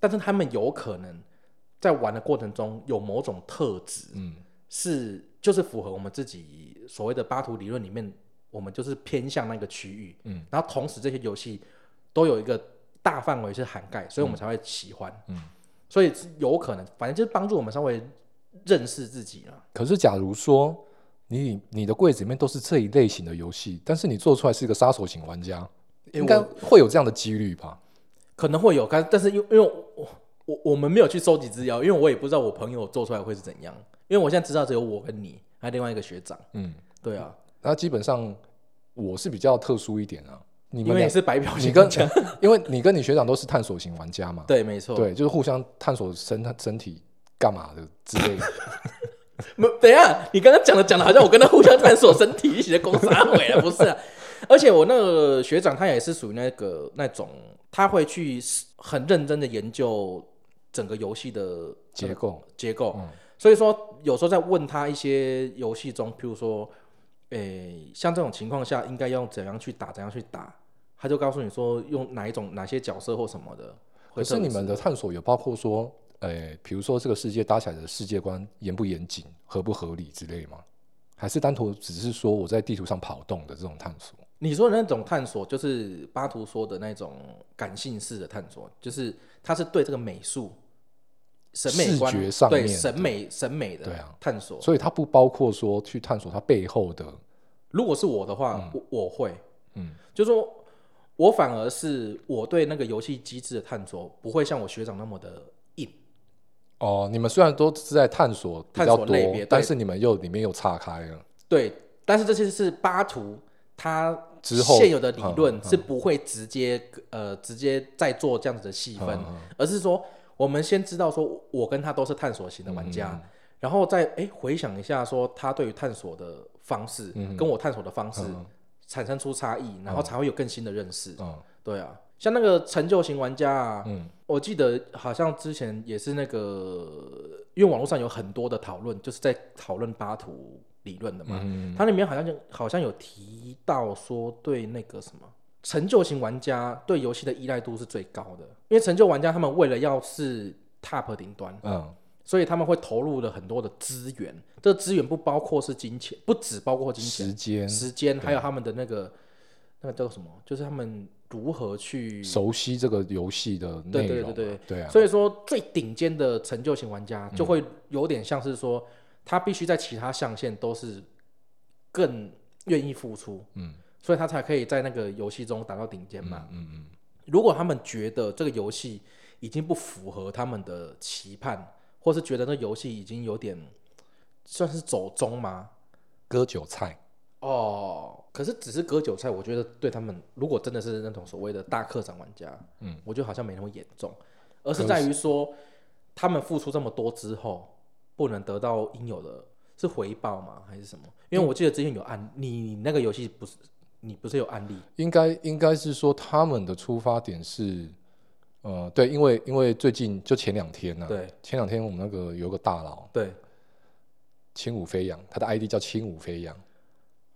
[SPEAKER 1] 但是他们有可能在玩的过程中有某种特质，
[SPEAKER 2] 嗯，
[SPEAKER 1] 是就是符合我们自己所谓的巴图理论里面，我们就是偏向那个区域，
[SPEAKER 2] 嗯，
[SPEAKER 1] 然后同时这些游戏都有一个大范围是涵盖，所以我们才会喜欢，
[SPEAKER 2] 嗯，
[SPEAKER 1] 所以有可能，反正就是帮助我们稍微认识自己啊。
[SPEAKER 2] 可是假如说你你的柜子里面都是这一类型的游戏，但是你做出来是一个杀手型玩家，
[SPEAKER 1] 因为
[SPEAKER 2] 应该会有这样的几率吧？
[SPEAKER 1] 可能会有，但但是因为因为我我我我们没有去收集资料，因为我也不知道我朋友做出来会是怎样。因为我现在知道只有我跟你，还有另外一个学长。
[SPEAKER 2] 嗯，
[SPEAKER 1] 对啊，
[SPEAKER 2] 那基本上我是比较特殊一点啊。你
[SPEAKER 1] 因
[SPEAKER 2] 们
[SPEAKER 1] 为
[SPEAKER 2] 俩
[SPEAKER 1] 你，是白嫖
[SPEAKER 2] 你
[SPEAKER 1] 型
[SPEAKER 2] 跟
[SPEAKER 1] 玩家，
[SPEAKER 2] 因为你跟你学长都是探索型玩家嘛，
[SPEAKER 1] 对，没错。，
[SPEAKER 2] 对，就是互相探索身身体干嘛的之 类的。
[SPEAKER 1] 没等一下，你刚刚讲的讲的好像我跟他互相探索身体一起的攻杀鬼了，不是、啊？而且我那个学长他也是属于那个那种，他会去很认真的研究整个游戏的
[SPEAKER 2] 结构，
[SPEAKER 1] 结构。
[SPEAKER 2] 嗯
[SPEAKER 1] 所以说，有时候在问他一些游戏中，譬如说，诶、像这种情况下应该用怎样去打，怎样去打，他就告诉你说用哪一种、哪些角色或什么的。
[SPEAKER 2] 可
[SPEAKER 1] 会
[SPEAKER 2] 是
[SPEAKER 1] 特
[SPEAKER 2] 你
[SPEAKER 1] 别
[SPEAKER 2] 们的探索有包括说，呃，比如说这个世界搭起来的世界观严不严谨、合不合理之类吗？还是单独只是说我在地图上跑动的这种探索？
[SPEAKER 1] 你说的那种探索，就是巴图说的那种感性式的探索，就是他是对这个美术、审美
[SPEAKER 2] 视
[SPEAKER 1] 观
[SPEAKER 2] 觉上
[SPEAKER 1] 对
[SPEAKER 2] 面的
[SPEAKER 1] 审美审美的
[SPEAKER 2] 对啊
[SPEAKER 1] 探索。
[SPEAKER 2] 所以它不包括说去探索它背后的，
[SPEAKER 1] 如果是我的话，我我会，
[SPEAKER 2] 嗯，
[SPEAKER 1] 就说我反而是我对那个游戏机制的探索不会像我学长那么的硬。
[SPEAKER 2] 哦，你们虽然都是在探索比
[SPEAKER 1] 探
[SPEAKER 2] 较
[SPEAKER 1] 索
[SPEAKER 2] 多
[SPEAKER 1] 类别，
[SPEAKER 2] 但
[SPEAKER 1] 对
[SPEAKER 2] 是你们又里面又岔开了，
[SPEAKER 1] 对，但是这些是巴图它
[SPEAKER 2] 之后
[SPEAKER 1] 现有的理
[SPEAKER 2] 嗯
[SPEAKER 1] 论
[SPEAKER 2] 嗯
[SPEAKER 1] 是不会直接、呃直接再做这样子的细分，
[SPEAKER 2] 嗯
[SPEAKER 1] 而是说我们先知道说我跟他都是探索型的玩
[SPEAKER 2] 嗯
[SPEAKER 1] 家，然后再哎回想一下说他对于探索的方式、
[SPEAKER 2] 嗯
[SPEAKER 1] 跟我探索的方式产生出差异，然后才会有更新的认识。
[SPEAKER 2] 嗯
[SPEAKER 1] 对啊，像那个成就型玩家啊，
[SPEAKER 2] 嗯
[SPEAKER 1] 我记得好像之前也是那个，因为网络上有很多的讨论，就是在讨论巴图理论的嘛。
[SPEAKER 2] 嗯，
[SPEAKER 1] 它里面好像就好像有提到说，对那个什么成就型玩家对游戏的依赖度是最高的，因为成就玩家他们为了要是 top 顶端，
[SPEAKER 2] 嗯，
[SPEAKER 1] 所以他们会投入了很多的资源，这资源不包括是金钱，不只包括金钱，
[SPEAKER 2] 时间
[SPEAKER 1] 时间，还有他们的那个那个叫什么，就是他们如何去。
[SPEAKER 2] 熟悉这个游戏的内
[SPEAKER 1] 对对
[SPEAKER 2] 容，
[SPEAKER 1] 对对
[SPEAKER 2] 对啊，嗯
[SPEAKER 1] 所以说，最顶尖的成就型玩家就会有点像是说，他必须在其他象限都是更愿意付出，
[SPEAKER 2] 嗯
[SPEAKER 1] 所以他才可以在那个游戏中达到顶尖嘛。
[SPEAKER 2] 嗯嗯，
[SPEAKER 1] 如果他们觉得这个游戏已经不符合他们的期盼，或是觉得那游戏已经有点算是走中吗？
[SPEAKER 2] 割韭菜，
[SPEAKER 1] 哦，可是只是割韭菜，我觉得对他们，如果真的是那种所谓的大客场玩家，
[SPEAKER 2] 嗯，
[SPEAKER 1] 我觉得好像没那么严重，而是在于说他们付出这么多之后，不能得到应有的是回报吗？还是什么？因为我记得之前有案，你你那个游戏不是你不是有案例？
[SPEAKER 2] 应该应该是说他们的出发点是，呃，对，因为因为最近就前两天呢、啊
[SPEAKER 1] 对
[SPEAKER 2] 前两天我们那个有个大佬
[SPEAKER 1] 对，
[SPEAKER 2] 轻舞飞扬，他的 ID 叫轻舞飞扬，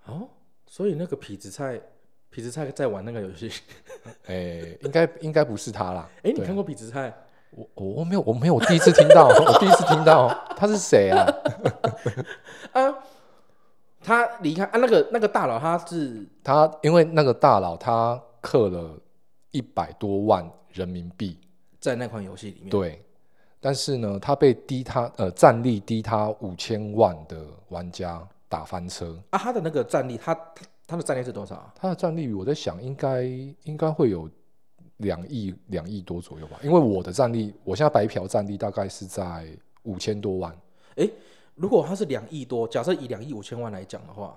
[SPEAKER 1] 哦，所以那个痞子菜，痞子菜在玩那个游戏，
[SPEAKER 2] 哎、应该应该不是他啦，
[SPEAKER 1] 哎，你
[SPEAKER 2] 对啊
[SPEAKER 1] 看过痞子菜？
[SPEAKER 2] 我我我没有我没有，我第一次听到， 我第一次听到他是谁啊？
[SPEAKER 1] 他离开啊，那个那个大佬他是
[SPEAKER 2] 他因为那个大佬他氪了一百多万人民币，
[SPEAKER 1] 在那款游戏里面，
[SPEAKER 2] 对，但是呢，他被低他呃战力低他五千万的玩家打翻车。
[SPEAKER 1] 啊，他的那个战力，他他他的战力是多少啊？
[SPEAKER 2] 他的战力，我在想应该应该会有两亿两亿多左右吧，因为我的战力，我现在白嫖战力大概是在五千多万，
[SPEAKER 1] 如果他是两亿多，假设以两亿五千万来讲的话，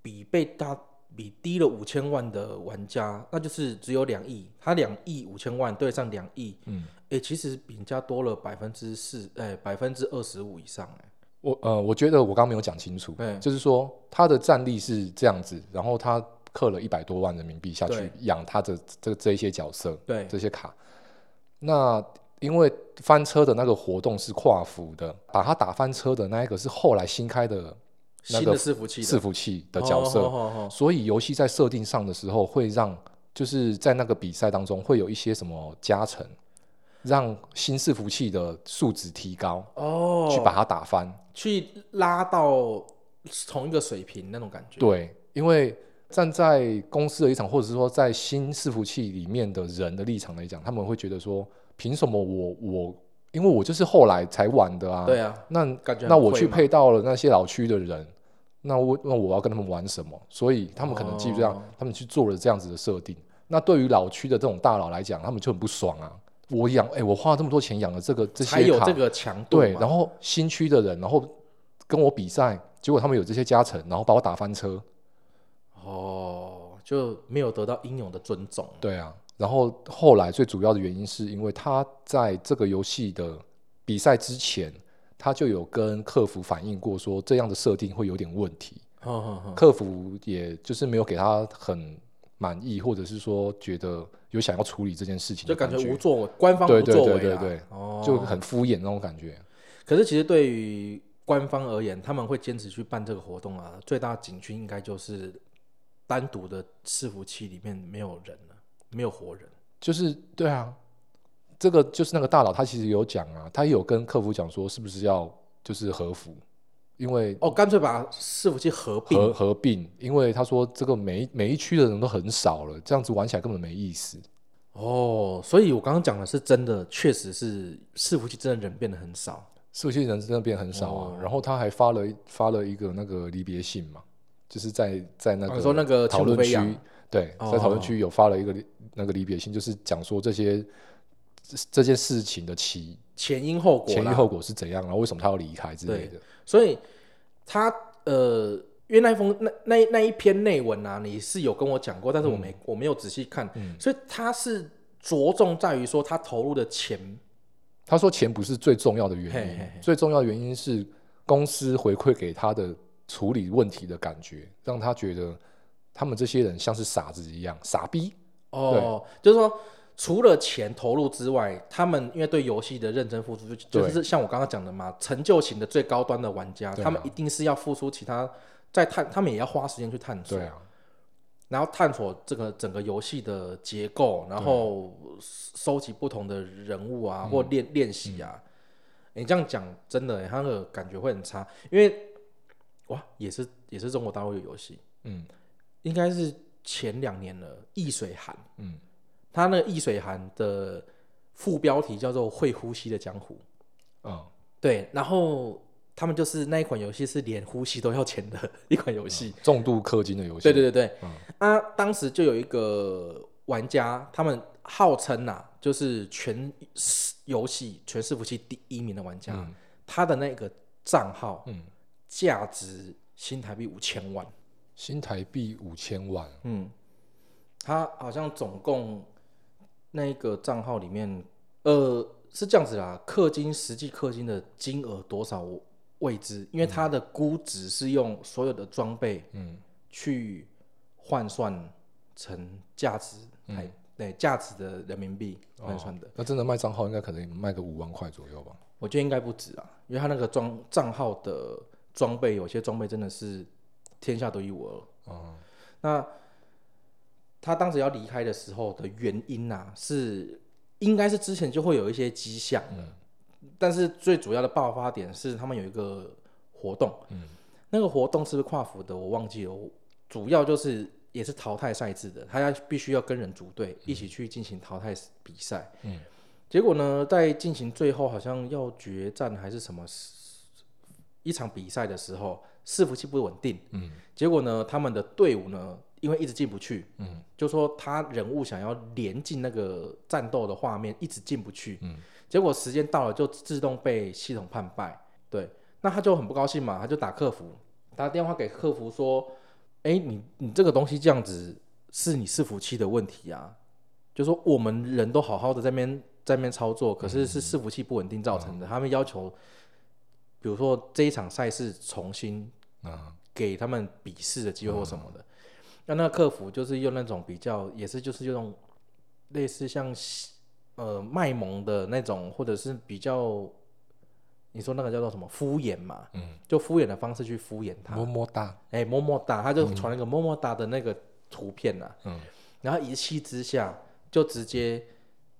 [SPEAKER 1] 比被他比低了五千万的玩家，那就是只有两亿，他两亿五千万对上两亿，
[SPEAKER 2] 嗯，
[SPEAKER 1] 哎、其实比人家多了百分之四，哎，百分之二十五以上、哎，
[SPEAKER 2] 我呃，我觉得我刚刚没有讲清楚，
[SPEAKER 1] 对
[SPEAKER 2] 就是说他的战力是这样子，然后他氪了一百多万人民币下去
[SPEAKER 1] 对
[SPEAKER 2] 养他的这这一些角色，
[SPEAKER 1] 对
[SPEAKER 2] 这些卡。那因为翻车的那个活动是跨服的，把他打翻车的那一个是后来新开的那
[SPEAKER 1] 新
[SPEAKER 2] 个
[SPEAKER 1] 的伺服器的
[SPEAKER 2] 伺服器的角色，
[SPEAKER 1] 哦哦哦哦
[SPEAKER 2] 所以游戏在设定上的时候，会让就是在那个比赛当中会有一些什么加成，让新伺服器的数值提高，
[SPEAKER 1] 哦，
[SPEAKER 2] 去把它打翻。
[SPEAKER 1] 去拉到同一个水平那种感觉。，
[SPEAKER 2] 对，因为站在公司的立场，或者是说在新伺服器里面的人的立场来讲，他们会觉得说，凭什么我我，因为我就是后来才玩的啊，
[SPEAKER 1] 对啊，
[SPEAKER 2] 那
[SPEAKER 1] 感觉很
[SPEAKER 2] 那我
[SPEAKER 1] 愧
[SPEAKER 2] 去
[SPEAKER 1] 嘛
[SPEAKER 2] 配到了那些老区的人，那我那我要跟他们玩什么？所以他们可能基于这样，
[SPEAKER 1] 哦
[SPEAKER 2] 他们去做了这样子的设定。那对于老区的这种大佬来讲，他们就很不爽啊！我养哎、我花了这么多钱养了这个这些
[SPEAKER 1] 才有
[SPEAKER 2] 卡
[SPEAKER 1] 这个强度嘛。
[SPEAKER 2] 对，然后新区的人，然后跟我比赛，结果他们有这些加成，然后把我打翻车。
[SPEAKER 1] 哦，就没有得到应有的尊重。
[SPEAKER 2] 对啊，然后后来最主要的原因是因为他在这个游戏的比赛之前，他就有跟客服反映过说这样的设定会有点问题。
[SPEAKER 1] 哼哼哼
[SPEAKER 2] 客服也就是没有给他很满意，或者是说觉得有想要处理这件事情
[SPEAKER 1] 就
[SPEAKER 2] 的
[SPEAKER 1] 感
[SPEAKER 2] 觉，
[SPEAKER 1] 觉无作为，官方
[SPEAKER 2] 对
[SPEAKER 1] 不
[SPEAKER 2] 对
[SPEAKER 1] 作为
[SPEAKER 2] 对
[SPEAKER 1] 啦
[SPEAKER 2] 对对，
[SPEAKER 1] 哦，
[SPEAKER 2] 就很敷衍那种感觉。
[SPEAKER 1] 可是其实对于官方而言，他们会坚持去办这个活动啊，最大的警讯应该就是单独的伺服器里面没有人了，没有活人。
[SPEAKER 2] 就是对啊，这个就是那个大佬他其实有讲啊，他也有跟客服讲说是不是要就是合服，因为
[SPEAKER 1] 哦，干脆把伺服器合并。
[SPEAKER 2] 合合并，因为他说这个每一每一区的人都很少了，这样子玩起来根本没意思。
[SPEAKER 1] 哦，所以我刚刚讲的是真的，确实是伺服器真的人变得很少。
[SPEAKER 2] 是不是人真的变很少啊？
[SPEAKER 1] 哦
[SPEAKER 2] 然后他还发了一发了一个那个离别信嘛，就是在在那
[SPEAKER 1] 哦
[SPEAKER 2] 个
[SPEAKER 1] 你说那个
[SPEAKER 2] 讨
[SPEAKER 1] 千
[SPEAKER 2] 论
[SPEAKER 1] 古飞
[SPEAKER 2] 区
[SPEAKER 1] 扬，
[SPEAKER 2] 对，
[SPEAKER 1] 哦
[SPEAKER 2] 在讨论区有发了一个离那个离别信，就是讲说这些这这件事情的起
[SPEAKER 1] 前因后果啦，
[SPEAKER 2] 前因后果是怎样，然后为什么他要离开之类的。
[SPEAKER 1] 所以他呃，因为那封那那那一篇内文啊，你是有跟我讲过，但是我没、我没有仔细看，所以他是着重在于说他投入的钱，
[SPEAKER 2] 他说钱不是最重要的原因，
[SPEAKER 1] 嘿嘿
[SPEAKER 2] 最重要的原因是公司回馈给他的处理问题的感觉，让他觉得他们这些人像是傻子一样，傻逼。
[SPEAKER 1] 哦，就是说。除了钱投入之外，他们因为对游戏的认真付出，就就
[SPEAKER 2] 对
[SPEAKER 1] 是像我刚刚讲的嘛，成就型的最高端的玩家，
[SPEAKER 2] 对啊
[SPEAKER 1] 他们一定是要付出其他在探，他们也要花时间去探索
[SPEAKER 2] 对，啊，
[SPEAKER 1] 然后探索这个整个游戏的结构，然后收集不同的人物
[SPEAKER 2] 嗯
[SPEAKER 1] 啊，或练练习啊。你这样讲真的、他那个感觉会很差，因为哇，也是也是中国大陆的游戏，
[SPEAKER 2] 嗯，
[SPEAKER 1] 应该是前两年了，《易水寒》，
[SPEAKER 2] 嗯，
[SPEAKER 1] 它那个《易水寒》的副标题叫做“会呼吸的江湖
[SPEAKER 2] 嗯，”，
[SPEAKER 1] 对，然后他们就是那一款游戏是连呼吸都要钱的一款游戏，
[SPEAKER 2] 重度氪金的游戏。
[SPEAKER 1] 嗯对对对对，啊，当时就有一个玩家，他们号称呐、就是全游戏全伺服器第一名的玩家，他的那个账号，
[SPEAKER 2] 嗯
[SPEAKER 1] 价值新台币五千万，
[SPEAKER 2] 新台币五千万，
[SPEAKER 1] 嗯，他好像总共那一个账号里面，呃，是这样子啦，氪金实际氪金的金额多少我未知，因为它的估值是用所有的装备，
[SPEAKER 2] 嗯，
[SPEAKER 1] 去换算成价值台，对价值的人民币换算的，
[SPEAKER 2] 哦那真的卖账号应该可能卖个五万块左右吧？
[SPEAKER 1] 我觉得应该不止啊，因为他那个装账号的装备，有些装备真的是天下独一无二。
[SPEAKER 2] 嗯，
[SPEAKER 1] 那他当时要离开的时候的原因呐、是应该是之前就会有一些迹象的，但是最主要的爆发点是他们有一个活动，嗯，那个活动是不是跨服的，我忘记了，我主要就是也是淘汰赛制的，他要必须要跟人组队一起去进行淘汰比赛，嗯，结果呢，在进行最后好像要决战还是什么一场比赛的时候，伺服器不稳定，嗯，结果呢，他们的队伍呢，因为一直进不去，嗯，就说他人物想要连进那个战斗的画面，一直进不去，嗯，结果时间到了就自动被系统判败，对，那他就很不高兴嘛，他就打客服，打电话给客服说，哎、你你这个东西这样子是你伺服器的问题啊，就说我们人都好好的在那边在那边操作，可是是伺服器不稳定造成的，他们要求。比如说这一场赛事重新
[SPEAKER 2] 啊，
[SPEAKER 1] 给他们比试的机会或什么的。那那个客服就是用那种比较，也是就是用类似像呃卖萌的那种，或者是比较你说那个叫做什么敷衍嘛，嗯，就敷衍的方式去敷衍他，
[SPEAKER 2] 么么哒，
[SPEAKER 1] 哎、么么哒，他就传了一个么么哒的那个图片呐、
[SPEAKER 2] 嗯，
[SPEAKER 1] 然后一气之下就直接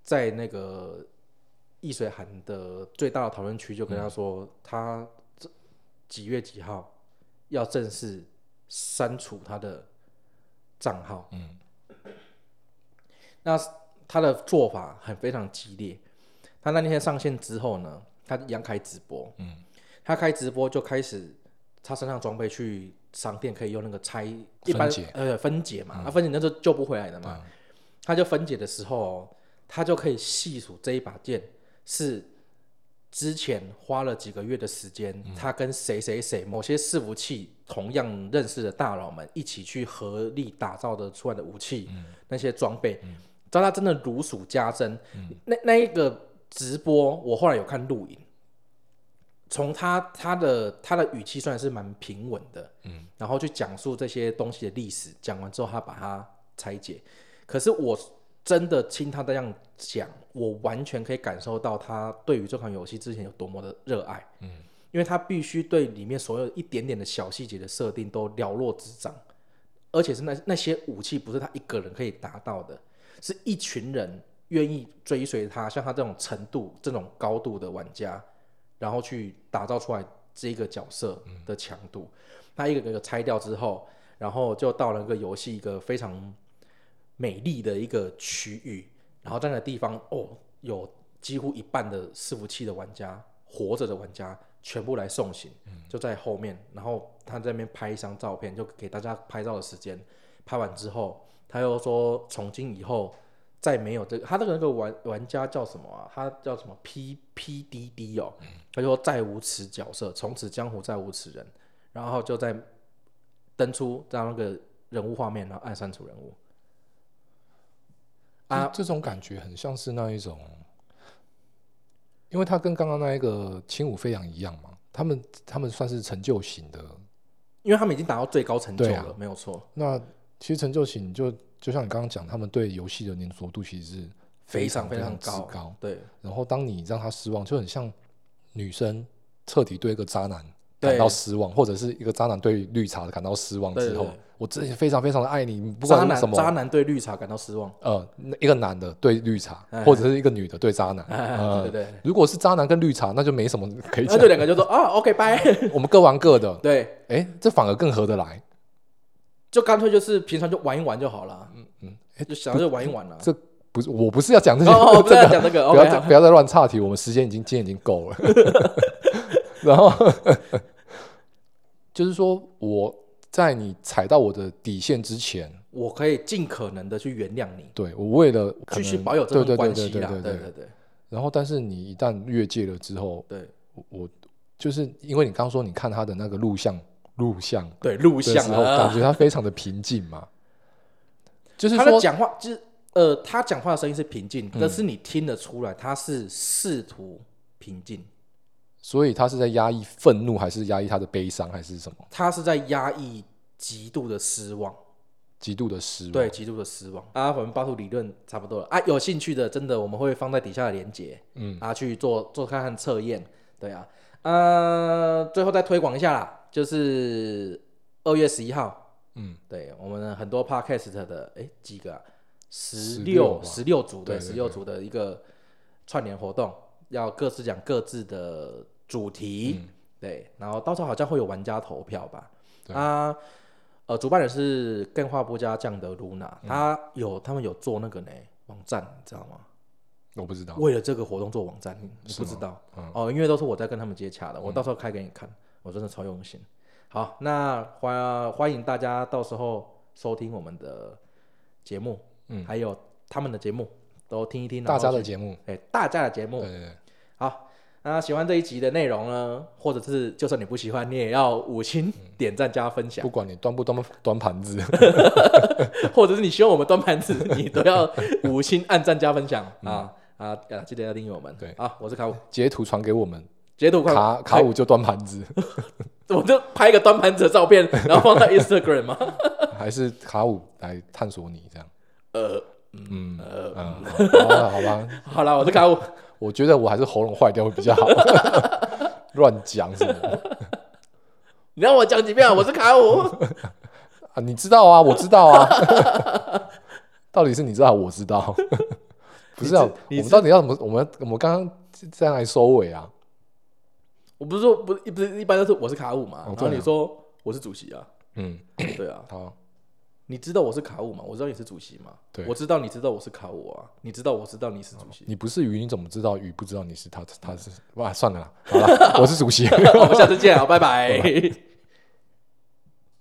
[SPEAKER 1] 在那个易水寒的最大的讨论区就跟他说，他这几月几号要正式删除他的账号，嗯，那他的做法很非常激烈，他那天上线之后呢，他一样开直播，嗯，他开直播就开始。他身上装备去商店可以用那个拆，一般
[SPEAKER 2] 分解嗯
[SPEAKER 1] 呃分解嘛，啊分解那就救不回来的嘛。他就分解的时候，他就可以细数这一把剑是之前花了几个月的时间，他跟谁谁谁某些伺服器同样认识的大佬们一起去合力打造的出来的武器，那些装备，当他真的如数家珍。那那一个直播，我后来有看录影。从他他的他的语气算是蛮平稳的，嗯，然后去讲述这些东西的历史，讲完之后他把它拆解。可是我真的听他这样讲，我完全可以感受到他对于这款游戏之前有多么的热爱，嗯，因为他必须对里面所有一点点的小细节的设定都了若指掌，而且是那那些武器不是他一个人可以达到的，是一群人愿意追随他，像他这种程度、这种高度的玩家，然后去打造出来这个角色的强度。他一个个拆掉之后，然后就到了一个游戏一个非常美丽的一个区域，然后在那个地方哦，有几乎一半的伺服器的玩家，活着的玩家全部来送行，就在后面，然后他在那边拍一张照片，就给大家拍照的时间。拍完之后，他又说从今以后再没有这个，他那个那个玩玩家叫什么啊？他叫什么 P P D D 哦，他就说再无此角色，从此江湖再无此人，然后就在登出这样那个人物画面，然后按删除人物。啊
[SPEAKER 2] 啊，这种感觉很像是那一种，因为它跟刚刚那一个轻舞飞扬一样嘛，他们他们算是成就型的。
[SPEAKER 1] 因为他们已经达到最高成就
[SPEAKER 2] 对
[SPEAKER 1] 了，
[SPEAKER 2] 啊
[SPEAKER 1] 没有错，
[SPEAKER 2] 那其实成就型就就像你刚刚讲，他们对游戏的粘着度其实是
[SPEAKER 1] 非
[SPEAKER 2] 常
[SPEAKER 1] 非
[SPEAKER 2] 常
[SPEAKER 1] 高，
[SPEAKER 2] 之高。
[SPEAKER 1] 对，
[SPEAKER 2] 然后当你让他失望，就很像女生彻底对一个渣男
[SPEAKER 1] 对
[SPEAKER 2] 感到失望，或者是一个渣男对绿茶感到失望之
[SPEAKER 1] 对
[SPEAKER 2] 后，
[SPEAKER 1] 对对
[SPEAKER 2] 我真的非常非常的爱你，你不
[SPEAKER 1] 渣
[SPEAKER 2] 管是什
[SPEAKER 1] 男
[SPEAKER 2] 么，
[SPEAKER 1] 渣男对绿茶感到失望，
[SPEAKER 2] 呃，那一个男的对绿茶，
[SPEAKER 1] 哎
[SPEAKER 2] 或者是一个女的对渣男，
[SPEAKER 1] 哎对
[SPEAKER 2] 呃，
[SPEAKER 1] 对
[SPEAKER 2] 如果是渣男跟绿茶，那就没什么可以
[SPEAKER 1] 对，
[SPEAKER 2] 讲
[SPEAKER 1] 那，就两个就说啊，OK，拜，
[SPEAKER 2] 我们各玩各的，
[SPEAKER 1] 对，
[SPEAKER 2] 哎，这反而更合得来，
[SPEAKER 1] 就干脆就是平常就玩一玩就好了，嗯嗯，就想着就玩一玩了。
[SPEAKER 2] 这不是我不是要讲这些，
[SPEAKER 1] 哦，哦不是
[SPEAKER 2] 这个
[SPEAKER 1] 要讲这个
[SPEAKER 2] 不要再
[SPEAKER 1] ，OK，
[SPEAKER 2] 不要再乱岔题，我们时间已经今天已经够了。 然后就是说，我在你踩到我的底线之前，
[SPEAKER 1] 我可以尽可能的去原谅你，
[SPEAKER 2] 对我为了可
[SPEAKER 1] 继
[SPEAKER 2] 能
[SPEAKER 1] 续保有这
[SPEAKER 2] 对
[SPEAKER 1] 份
[SPEAKER 2] 对
[SPEAKER 1] 关
[SPEAKER 2] 对
[SPEAKER 1] 系
[SPEAKER 2] 对
[SPEAKER 1] 啦，
[SPEAKER 2] 对
[SPEAKER 1] 对
[SPEAKER 2] 对。
[SPEAKER 1] 对对
[SPEAKER 2] 然后，但是你一旦越界了之后，
[SPEAKER 1] 对
[SPEAKER 2] 我我就是因为你刚说你看他的那个录像录像
[SPEAKER 1] 对，录
[SPEAKER 2] 的
[SPEAKER 1] 像
[SPEAKER 2] 时候，感
[SPEAKER 1] 啊，
[SPEAKER 2] 觉他非常的平静嘛，就是
[SPEAKER 1] 他的
[SPEAKER 2] 说
[SPEAKER 1] 讲话就是呃，他讲话的声音是平静，但是你听得出来他是试图平静，
[SPEAKER 2] 所以他是在压抑愤怒，还是压抑他的悲伤，还是什么
[SPEAKER 1] 他是在压抑极度的失望。
[SPEAKER 2] 极度的失望？
[SPEAKER 1] 对，极度的失望。啊，我们巴图理论差不多了啊，有兴趣的真的我们会放在底下的连接，嗯，啊去做做看看测验，对啊，呃，最后再推广一下啦，就是二月十一号，
[SPEAKER 2] 嗯，
[SPEAKER 1] 对我们很多 podcast 的哎几个啊，十
[SPEAKER 2] 16
[SPEAKER 1] 六
[SPEAKER 2] 吧
[SPEAKER 1] 十六组对
[SPEAKER 2] 对对
[SPEAKER 1] 十六组的一个串联活动，要各自讲各自的主题，
[SPEAKER 2] 嗯
[SPEAKER 1] 对，然后到时候好像会有玩家投票吧，啊。呃，主办人是更画不加酱的露
[SPEAKER 2] 嗯
[SPEAKER 1] 娜，他有他们有做那个呢网站，你知道吗？
[SPEAKER 2] 我不知道。
[SPEAKER 1] 为了这个活动做网站，你你不知道、
[SPEAKER 2] 嗯
[SPEAKER 1] 哦，因为都是我在跟他们接洽的，我到时候开给你看，我真的超用心。好，那欢欢迎大家到时候收听我们的节目，嗯，还有他们的节目都听一听，然
[SPEAKER 2] 大
[SPEAKER 1] 后
[SPEAKER 2] 家的
[SPEAKER 1] 去
[SPEAKER 2] 节目，
[SPEAKER 1] 哎大家的节目
[SPEAKER 2] 对，对对，
[SPEAKER 1] 好，那喜欢这一集的内容呢，或者是就算你不喜欢，你也要五星点赞加分享
[SPEAKER 2] 嗯不。管你端不端端盘子，
[SPEAKER 1] 或者是你希望我们端盘子，你都要五星按赞加分享啊啊啊！记得要订阅我们。
[SPEAKER 2] 嗯对
[SPEAKER 1] 啊，我是卡五，
[SPEAKER 2] 截图传给我们，
[SPEAKER 1] 截图快
[SPEAKER 2] 卡卡，五就端盘子，
[SPEAKER 1] 快我就拍一个端盘子的照片，然后放到 Instagram 嘛。
[SPEAKER 2] 还是卡五来探索你这样？
[SPEAKER 1] 呃，
[SPEAKER 2] 嗯呃，好吧好吧，
[SPEAKER 1] 好了，我的感悟，
[SPEAKER 2] 我觉得我还是喉咙坏掉会比较好， 乱讲什么 的
[SPEAKER 1] 你让我讲几遍啊？我是卡五，
[SPEAKER 2] 啊？你知道啊，我知道啊， 到底是你知道，我知道， 不是啊？
[SPEAKER 1] 你知你
[SPEAKER 2] 我们
[SPEAKER 1] 知
[SPEAKER 2] 到底要怎么？我们我们刚刚在哪里收尾啊？
[SPEAKER 1] 我不是说不不是一般都是我是卡五嘛，
[SPEAKER 2] 哦
[SPEAKER 1] 然
[SPEAKER 2] 对啊
[SPEAKER 1] 后你说我是主席啊，
[SPEAKER 2] 嗯，
[SPEAKER 1] 对啊，
[SPEAKER 2] 好，
[SPEAKER 1] 你知道我是卡五嘛？我知道你是主席嘛，
[SPEAKER 2] 对
[SPEAKER 1] 我知道你知道我是卡五啊，你知道我知道你是主席，
[SPEAKER 2] 你不是鱼，你怎么知道鱼不知道你是他？他是哇，算了啦，好了，我是主席。
[SPEAKER 1] 我们下次见啊，拜拜。